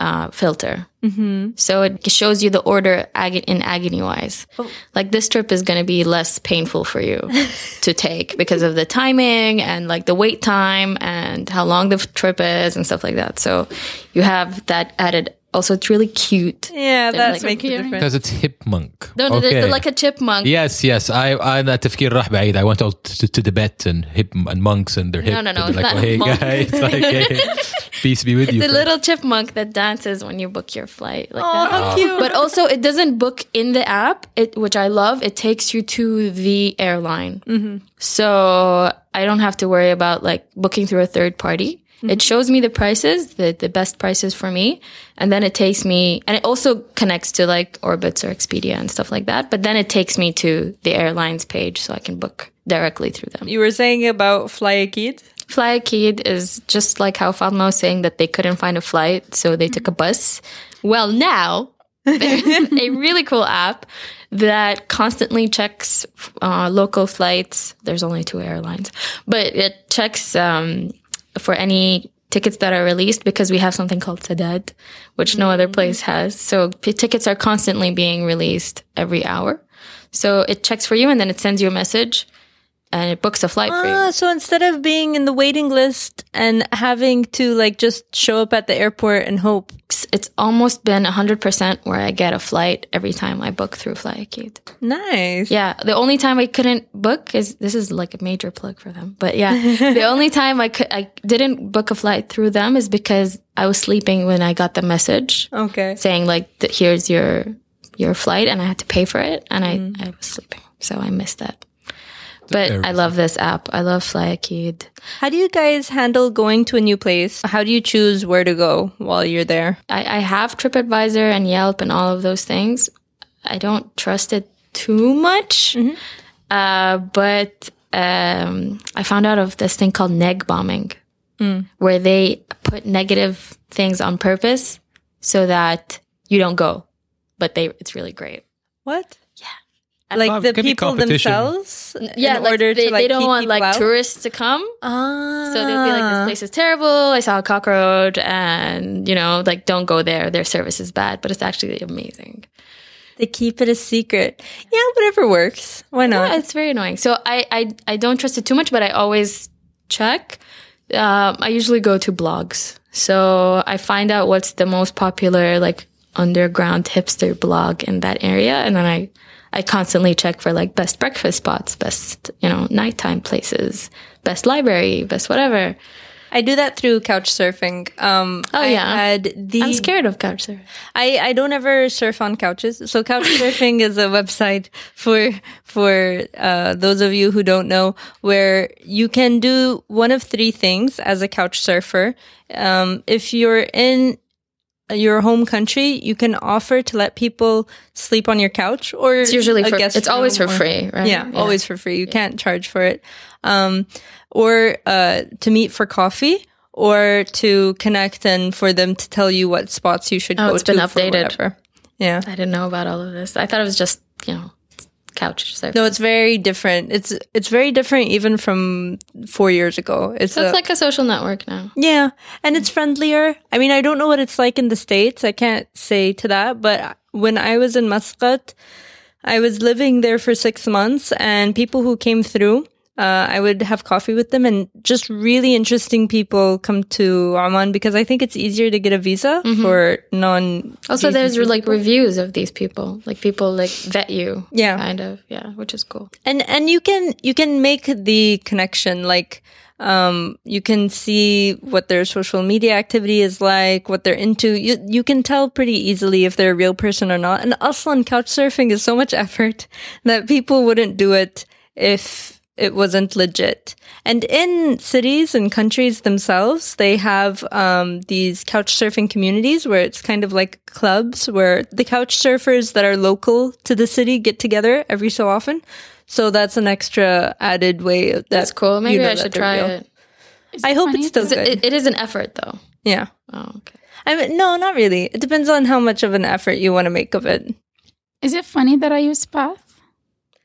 uh, filter. Mm-hmm. So it shows you the order ag- in agony wise. Oh. Like this trip is going to be less painful for you to take because of the timing and like the wait time and how long the f- trip is and stuff like that. So you have that added. Also, it's really cute. Yeah, that like- makes a Hearing. difference. Because it's hip monk. No, no, there's like a chipmunk. Yes, yes. I I that تفكير راح بعيد. I went out to, to Tibet and hip and monks and their hip. No, no, no, and it's like, not oh, hey monk. guys, like, hey, peace be with you. The friend. little chipmunk that dances when you book your flight. Like Oh, that. how cute. But also, it doesn't book in the app, it, which I love. It takes you to the airline. Mm-hmm. So I don't have to worry about like booking through a third party. Mm-hmm. It shows me the prices, the, the best prices for me. And then it takes me, and it also connects to like Orbitz or Expedia and stuff like that. But then it takes me to the airlines page so I can book directly through them. you were saying about Fly Akid? Fly Kid is just like how Fatma was saying that they couldn't find a flight, so they took a bus. Well, now there's a really cool app that constantly checks uh, local flights. There's only two airlines, but it checks um, for any tickets that are released because we have something called Sadad, which no other place has. So p- tickets are constantly being released every hour. So it checks for you and then it sends you a message and it books a flight for you. Ah, so instead of being in the waiting list and having to like just show up at the airport and hope. it's- it's almost been 100% where I get a flight every time I book through Flyakid. Nice. Yeah, the only time I couldn't book is this is like a major plug for them. But yeah, the only time I could I didn't book a flight through them is because I was sleeping when I got the message Okay. saying like that here's your your flight and I had to pay for it and I I was sleeping. So I missed that. But I love this app. I love Flyakid. How do you guys handle going to a new place? How do you choose where to go while you're there? I, I have TripAdvisor and Yelp and all of those things. I don't trust it too much, Mm-hmm. uh, but um, I found out of this thing called neg bombing. Mm. where they put negative things on purpose so that you don't go. But they, it's really great. What? Yeah. Well, Like the it could be people competition. themselves, n- Yeah, in like order they, to like they don't keep want people like out? tourists to come. Ah. So they'll be like, this place is terrible. I saw a cockroach and, you know, like, don't go there. Their service is bad, but it's actually amazing. They keep it a secret. Yeah, whatever works. Why not? Yeah, it's very annoying. So I, I, I don't trust it too much, but I always check. Um, I usually go to blogs. So I find out what's the most popular, like, underground hipster blog in that area. And then I, I constantly check for like best breakfast spots, best, you know, nighttime places, best library, best whatever. I do that through couch surfing. Um, Oh, I yeah. had the I'm scared of couchsurfing. I, I don't ever surf on couches. So couch surfing is a website for for uh, those of you who don't know, where you can do one of three things as a couch surfer. Um, if you're in your home country, you can offer to let people sleep on your couch, or It's usually a for, guest it's always for room or- free, right? yeah, always for free. You can't charge for it. Um, or uh, to meet for coffee or to connect and for them to tell you what spots you should Oh, go it's to. been for updated. whatever. Yeah. I didn't know about all of this. I thought it was just, you know, couch surfing. No, it's very different. It's it's very different even from four years ago. It's, so it's a- like a social network now. yeah, and it's friendlier. I mean, I don't know what it's like in the states. I can't say to that. But when I was in Muscat, I was living there for six months, and people who came through, uh, I would have coffee with them, and just really interesting people come to Oman because I think it's easier to get a visa for non. Also, there's like reviews of these people. Like people like vet you. Yeah. Kind of. Yeah. Which is cool. and and you can you can make the connection like um you can see what their social media activity is like what they're into you you can tell pretty easily if they're a real person or not and also on couch surfing is so much effort that people wouldn't do it if it wasn't legit and in cities and countries themselves they have um, these couch surfing communities where it's kind of like clubs where the couch surfers that are local to the city get together every so often so that's an extra added way that That's cool. Maybe you know I that should they're try real. it. I hope it's still Is it- good. it. It is an effort though. yeah. Oh, okay. I mean, no, not really. It depends on how much of an effort you want to make of it. Is it funny that I use Path?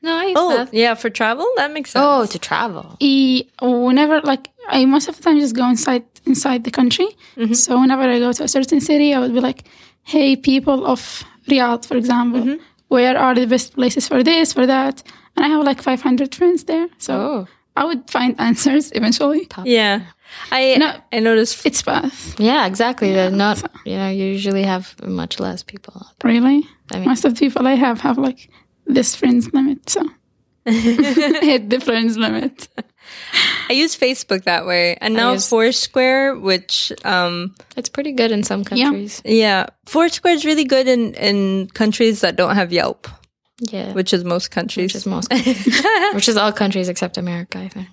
No, I use Oh, that. yeah, for travel, that makes sense. Oh, to travel. E- whenever, like, I most of the time just go inside inside the country. So whenever I go to a certain city, I would be like, "Hey, people of Riyadh, for example, where are the best places for this, for that?" And I have like 500 friends there, so Oh. I would find answers eventually. yeah. I Oh. No. I noticed It's Path, Yeah, exactly. They're not. You know, you usually have much less people. really. I mean- most of the people I have have like this friends limit, so hit the friends limit. I use Facebook that way, and now use- Foursquare, which um, It's pretty good in some countries. yeah, Foursquare is really good in in countries that don't have Yelp, Yeah. which is most Which countries. is most, which is all countries except America, I think.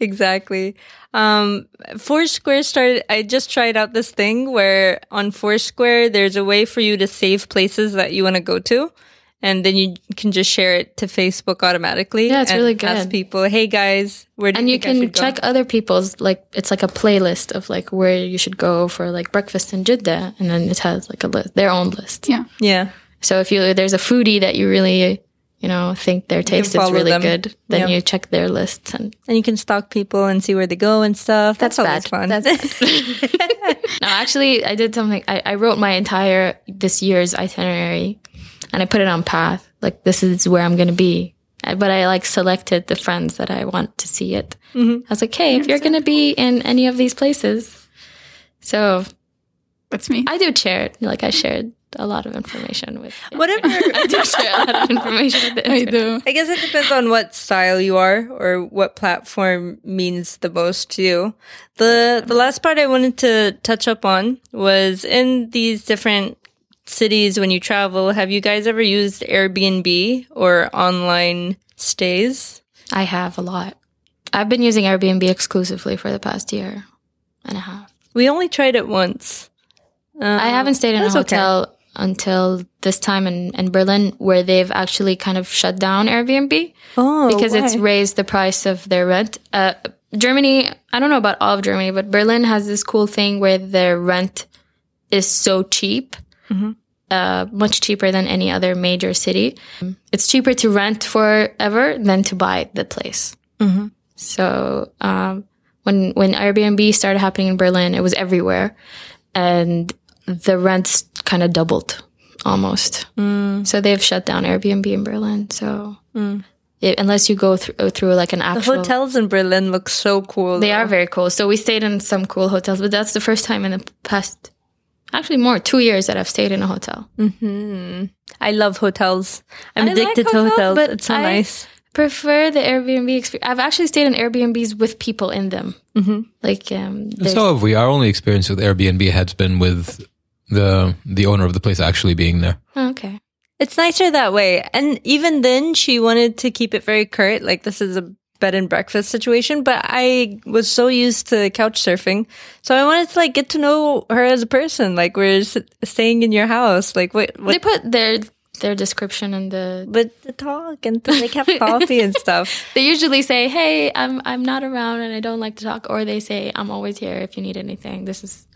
exactly. Um, Foursquare started. I just tried out this thing where on Foursquare there's a way for you to save places that you want to go to, and then you can just share it to Facebook automatically. Yeah, it's and really Ask good. people, hey guys, where do and you think I can should go?" check other people's like it's like a playlist of like where you should go for like breakfast in Jeddah, and then it has like a list, their own list. Yeah. Yeah. So if you there's a foodie that you really you know think their taste is follow really them. good, then Yeah. you check their lists, and And you can stalk people and see where they go and stuff. That's, always bad. fun. That's no, actually, I did something. I, I wrote my entire this year's itinerary, and I put it on Path. Like this is where I'm going to be. I- But I like selected the friends that I want to see it. Mm-hmm. I was like, hey, if you're going to be in any of these places, so That's me. I do share it. Like I shared a lot of information with. Whatever. I do share a lot of information Oh, with. the I internet. do. I guess it depends on what style you are or what platform means the most to you. The the last part I wanted to touch up on was in these different cities when you travel, have you guys ever used Airbnb or online stays? I have a lot. I've been using Airbnb exclusively for the past year and a half. We only tried it once. Uh, I haven't stayed in a that's okay. hotel until this time in, in Berlin, where they've actually kind of shut down Airbnb oh, because it's why? raised the price of their rent. Uh, Germany, I don't know about all of Germany, but Berlin has this cool thing where their rent is so cheap, Mhm. uh, much cheaper than any other major city. It's cheaper to rent forever than to buy the place. Mhm. So um, when when Airbnb started happening in Berlin, it was everywhere, and the rents kind of doubled almost. Mm. So they've shut down Airbnb in Berlin. So yeah, unless you go through through like an The actual hotels in Berlin look so cool. they though. are very cool. So we stayed in some cool hotels, but that's the first time in the past, actually more, two years that I've stayed in a hotel. Mm. I love hotels. I'm I like addicted to hotels, hotels. but it's so I- nice. Prefer the Airbnb experience. I've actually stayed in Airbnbs with people in them. Mm-hmm. Like, um, there's- So have we. Our only experience with Airbnb has been with the the owner of the place actually being there. oh, okay. It's nicer that way. And even then, she wanted to keep it very curt, like this is a bed and breakfast situation. But I was so used to couch surfing, so I wanted to like get to know her as a person. Like we're s- staying in your house. Like what? They what put their their description in the. but to talk and to like have coffee and stuff. They usually say, "Hey, I'm I'm not around and I don't like to talk," or they say, "I'm always here if you need anything." This is,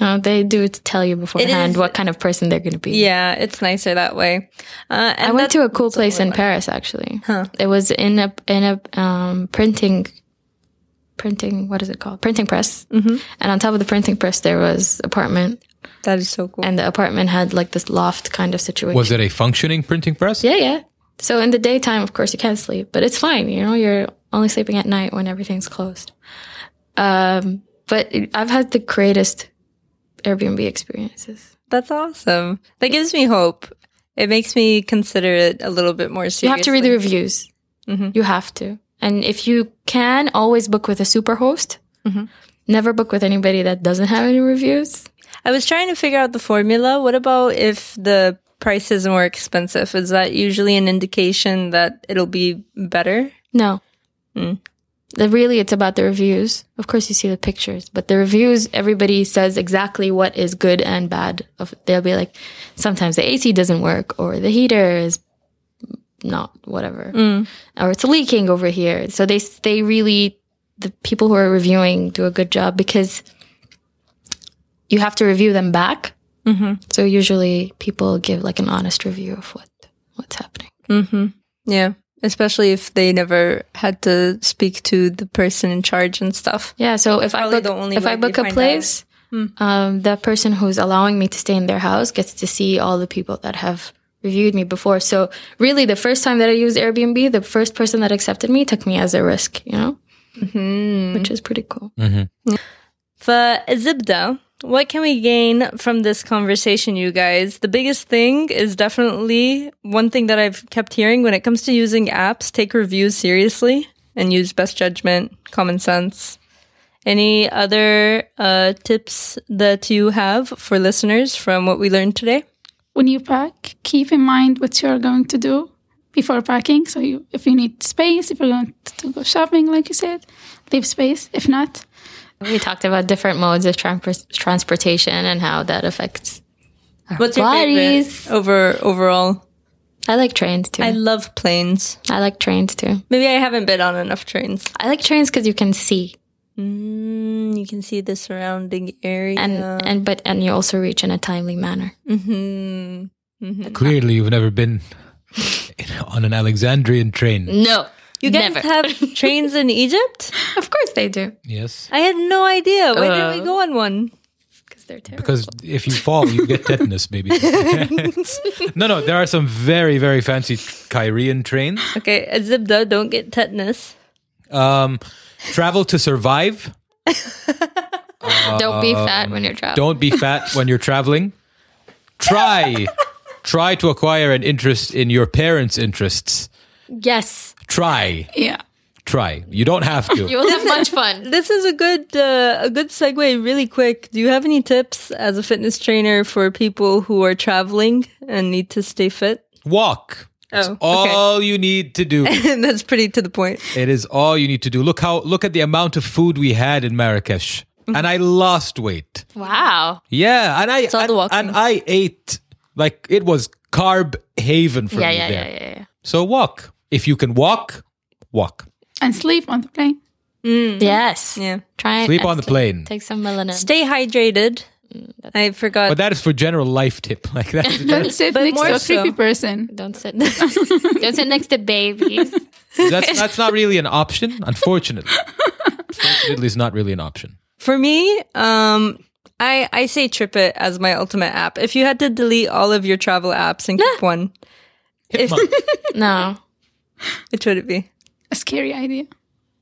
you know, they do tell you beforehand what kind of person they're going to be. Yeah, it's nicer that way. Uh, and I went that- to a cool place in Paris actually. It was in a in a um, printing printing what is it called printing press, mm-hmm. and on top of the printing press there was apartment, that is so cool. and the apartment had like this loft kind of situation. Was it a functioning printing press? Yeah, yeah. So in the daytime, of course, you can't sleep, but it's fine. You know, you're only sleeping at night when everything's closed. Um, but it- I've had the greatest Airbnb experiences. That's awesome. That gives me hope. It makes me consider it a little bit more seriously. You have to read the reviews. You have to. And if you can, always book with a super host. Never book with anybody that doesn't have any reviews. I was trying to figure out the formula. What about if the price is more expensive? Is that usually an indication that it'll be better? No. The- Really, it's about the reviews. Of course, you see the pictures, but the reviews, everybody says exactly what is good and bad. Of They'll be like, sometimes the AC doesn't work, or the heater is not whatever, or it's leaking over here. So they they really the people who are reviewing do a good job because you have to review them back. Mm-hmm. So usually, people give like an honest review of what what's happening. Yeah. Especially if they never had to speak to the person in charge and stuff. Yeah, so if I probably book, the only if way I they book a find Hmm. place, um, the person who's allowing me to stay in their house gets to see all the people that have reviewed me before. So really, the first time that I used Airbnb, the first person that accepted me took me as a risk, you know, Hmm. which is pretty cool. For Zibda, what can we gain from this conversation, you guys? The biggest thing is definitely one thing that I've kept hearing when it comes to using apps take reviews seriously and use best judgment, common sense. Any other uh, tips that you have for listeners from what we learned today? when you pack, keep in mind what you're going to do before packing. So you, if you need space, if you're going to go shopping, like you said, leave space. If not, We talked about different modes of tran- transportation and how that affects. What's your Bodies. favorite over overall? I like trains too. I I, love planes. like trains too. Maybe I haven't been on enough trains. I like trains because you can see Mm, you can see the surrounding area. and and but and you also reach in a timely manner. Clearly, you've never been on an Alexandrian train. No, you guys never. have trains in Egypt? of course they do Yes, I had no idea. Why didn't we go on one? because they're terrible. because if you fall, you get tetanus, baby. no, no, there are some very, very fancy Kyrian trains. Okay, Zibda, don't get tetanus. Um, travel to survive. Don't be fat when you're traveling. Um, Don't be fat when you're traveling. Try, try to acquire an interest in your parents' interests. Yes. Try, yeah. try. You don't have to. You will have much fun. This is a good uh, a good segue, really quick. Do you have any tips as a fitness trainer for people who are traveling and need to stay fit? Walk. That's Oh, okay. all you need to do. That's pretty to the point. It is all you need to do. Look how look at the amount of food we had in Marrakesh, and I lost weight. Wow. Yeah, and I all and, the walking. and I ate like it was carb haven for Yeah, me yeah, there. yeah, yeah, yeah. So walk if you can walk, walk. And sleep on the plane. Mm-hmm. Yes. Yeah. Try Sleep on the plane. Take some melanin. Stay hydrated. I forgot. But that is for general life tip. Like that's Don't sit But next more to a so- creepy person. don't sit. don't sit next to babies. that's that's not really an option, unfortunately. Unfortunately, it's not really an option. For me, um, I I say Trip It as my ultimate app. If you had to delete all of your travel apps and keep one, if, Monk. No. which would it be? A scary idea.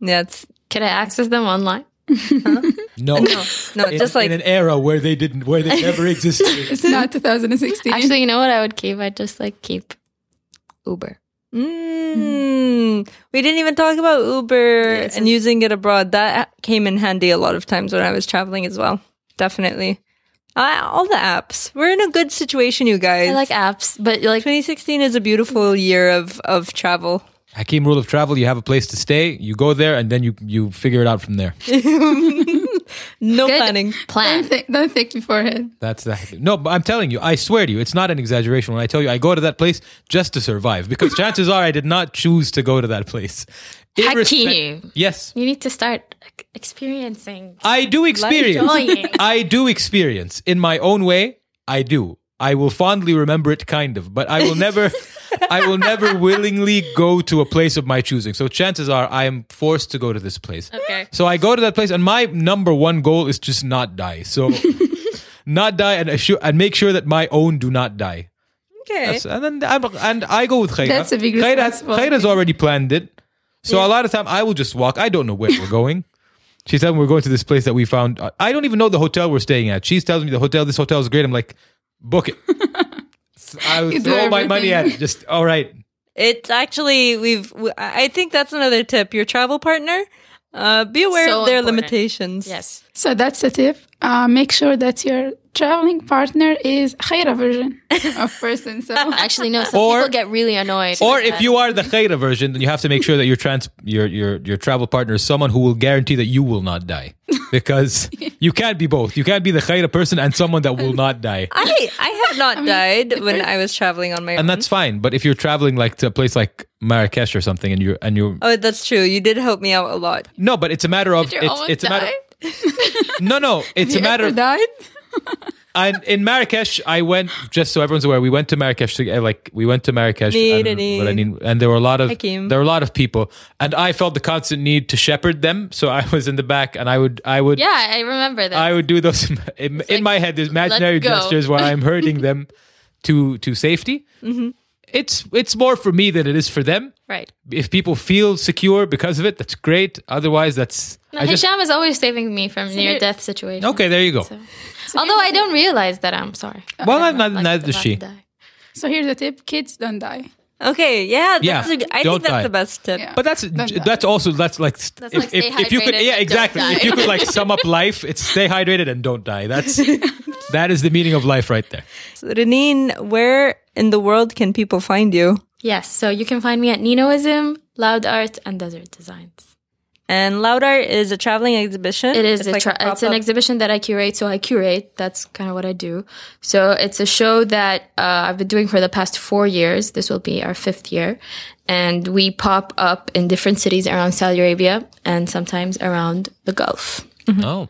Yeah, it's Can I access them online? No. no, In, just like in an era where they didn't, where they never existed. It's not 2016. Actually, you know what I would keep? I'd just like keep Uber. Hmm. Mm. We didn't even talk about Uber and using it abroad. That came in handy a lot of times when I was traveling as well. Definitely. Uh, all the apps. We're in a good situation, you guys. I like apps, but like 2016 is a beautiful year of, of travel. Hakeem rule of travel: you have a place to stay, you go there, and then you you figure it out from there. No good planning. plan. Don't think, don't think beforehand. That's the no. But I'm telling you, I swear to you, it's not an exaggeration when I tell you I go to that place just to survive because chances are I did not choose to go to that place. Irrespe- Hakeem. Yes, You need to start like, experiencing. I do experience. Enjoying. I do experience in my own way. I do. I will fondly remember it, kind of, but I will never. I will never willingly go to a place of my choosing. So chances are I am forced to go to this place. Okay. So I go to that place, and my number one goal is just not die. So not die and assure, and make sure that my own do not die. Okay. That's- and then I'm, and I go with Khaira. That's a big Khaira has, responsibility. Khaira's already planned it. So a lot of time I will just walk. I don't know where we're going. She's telling me we're going to this place that we found. I don't even know the hotel we're staying at. She's telling me the hotel. This hotel is great. I'm like, book it. So I would You do throw my money at everything. it. Just all right. It's actually, we've, w- I think that's another tip. Your travel partner, uh, be aware So of their important. limitations. Yes. So that's the tip. Uh, make sure that your traveling partner is Khaira version of person. So Actually, no. Some Or- people get really annoyed. Uh, Or with if that. you are the Khaira version, then you have to make sure that your trans your your your travel partner is someone who will guarantee that you will not die. Because you can't be both. You can't be the Khaira person and someone that will not die. I, I have not died when I was traveling on my own. And that's fine. But if you're traveling like to a place like Marrakesh or something and you're and you're oh, that's true. You did help me out a lot. No, but it's a matter of Did you it's, almost it's a matter die? No no, it's a matter Ever of died. I'm in Marrakesh. I went just so everyone's aware. We went to Marrakesh. To, uh, like we went to Marrakesh, Need, and, need. what I need- and there were a lot of Hakeem. there were a lot of people, and I felt the constant need to shepherd them. So I was in the back, and I would I would Yeah, I remember that. I would do those in, in, in my head. There's imaginary let's go. gestures where I'm herding them to to safety. Mm-hmm. It's it's more for me than it is for them. right. If people feel secure because of it, that's great. Otherwise, that's No, I just Hisham is always saving me from near you're- death situations. okay. There you go. Although I don't realize that I'm sorry. well, I'm I'm not, like neither does about she. to die. So here's the tip: kids don't die. Okay, yeah, Yeah, that's a good- I don't think that's die. the best tip. Yeah. But that's die. that's also that's like That's if, like if, stay if you could hydrated yeah and don't exactly die. if you could like sum up life it's stay hydrated and don't die that's that is the meaning of life right there So, Reneen, where in the world can people find you? Yes, so you can find me at Ninoism, Loud Art, and Desert Designs. And Loud Art is a traveling exhibition. It is. It's, a like a tra- it's an pop-up. exhibition that I curate. So I curate. That's kind of what I do. So it's a show that uh, I've been doing for the past four years. This will be our fifth year, and we pop up in different cities around Saudi Arabia and sometimes around the Gulf. oh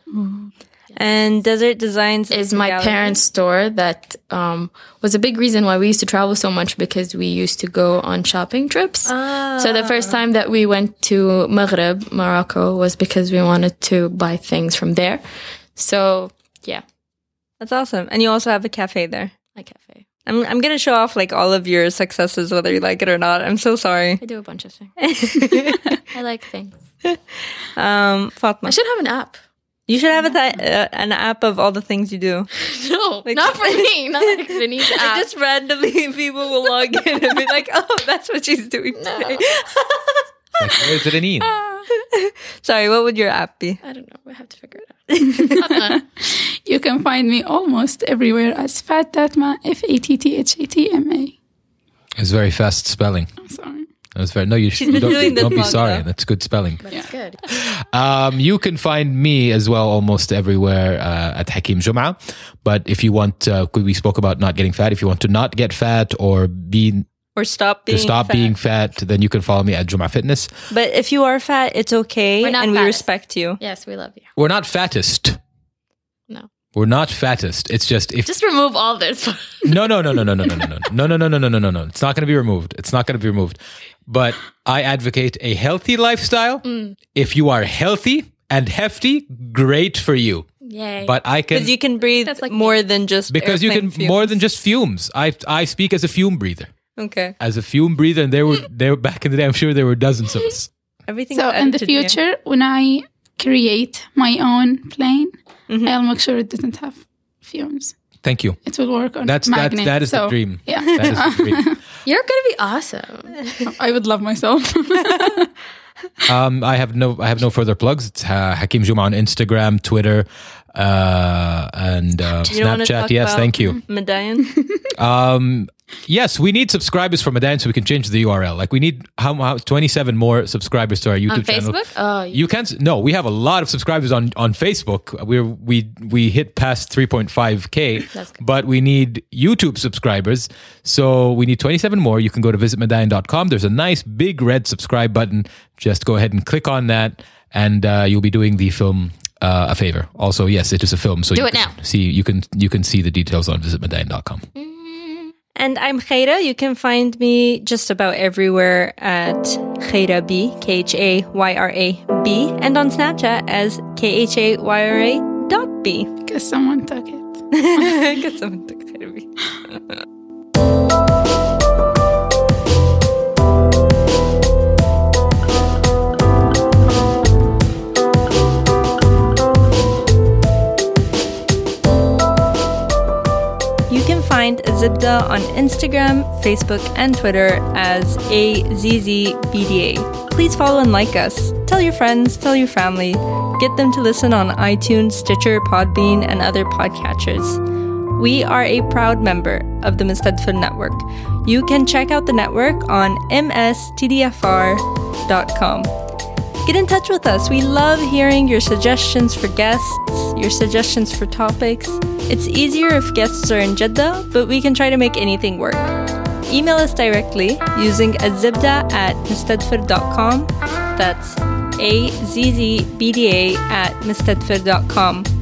and Desert Designs Is my gallery. parents' store that um, was a big reason why we used to travel so much because we used to go on shopping trips. So the first time that we went to Maghreb, Morocco, was because we wanted to buy things from there. So yeah, That's awesome. And you also have a cafe there. my cafe. I'm I'm gonna show off like all of your successes, whether you like it or not. I'm so sorry. I do a bunch of things. I like things. Um, I Fatma, should have an app. you should have a th- uh, an app of all the things you do. No, not for me. Not like Vinny's app. Like just randomly, people will log in and be like, "Oh, that's what she's doing today." like, where's Renine Sorry, what would your app be? I don't know. We have to figure it out. You can find me almost everywhere as Fat Fattatma, F A T T H A T M A. it's very fast spelling I'm sorry. that was very no you should been don't, doing this don't be long sorry enough. that's good spelling It's good. Um, you can find me as well almost everywhere uh, at Hakim Jum'a. But if you want, uh, we spoke about not getting fat. If you want to not get fat or be or stop being to stop fat. being fat, then you can follow me at Juma Fitness. But if you are fat, it's okay, We're not and we fattest. respect you. Yes, we love you. We're not fattest. No. We're not fattest. It's just if Just remove all this. no no no no no no no no no no no no no no no no no. It's not going to be removed. It's not going to be removed. But I advocate a healthy lifestyle. Mm. If you are healthy and hefty, great for you. Yay. But I can Because you can breathe That's like more than just because you can airplane fumes. more than just fumes. I I speak as a fume breather. okay. As a fume breather, and there were there back in the day. I'm sure there were dozens of us. Everything So in the edited, yeah. future, when I create my own plane, I'll make sure it doesn't have fumes. Thank you. It will work on That's that. magnet. That is the so, dream. Yeah, That is the dream. You're going to be awesome. I would love myself. Um, I have no I have no further plugs. It's uh, Hakim Juma on Instagram, Twitter, uh, and uh, You don't wanna Snapchat. talk Yes, about Mm-hmm. thank you. Medallion. Yes, we need subscribers from Medan so we can change the URL. Like we need how, how twenty seven more subscribers to our YouTube On channel. Facebook? Oh, you- You can't. No, we have a lot of subscribers on on Facebook. We're we we hit past three point five k, That's good. but we need YouTube subscribers. So we need twenty seven more. You can go to visitmedian.com. There's a nice big red subscribe button. Just go ahead and click on that, and uh, you'll be doing the film. Uh, a favor. Also, yes, it is a film. So Do you it can now. See, you can you can see the details on visitmedian.com. And I'm Khaira. You can find me just about everywhere at Khaira B, K H A Y R A B, and on Snapchat as K H A Y R A dot B. Because someone took it. Get someone to Khaira B. You can find Azibda on Instagram, Facebook, and Twitter as AZZBDA. Please follow and like us. Tell your friends, tell your family. Get them to listen on iTunes, Stitcher, Podbean, and other podcatchers. We are a proud member of the Mustadfir Network. You can check out the network on mstdfr.com. Get in touch with us. We love hearing your suggestions for guests, your suggestions for topics. It's easier if guests are in Jeddah, but we can try to make anything work. Email us directly using azibda at mustadfir.com. That's A Z Z B D A at mustadfir.com.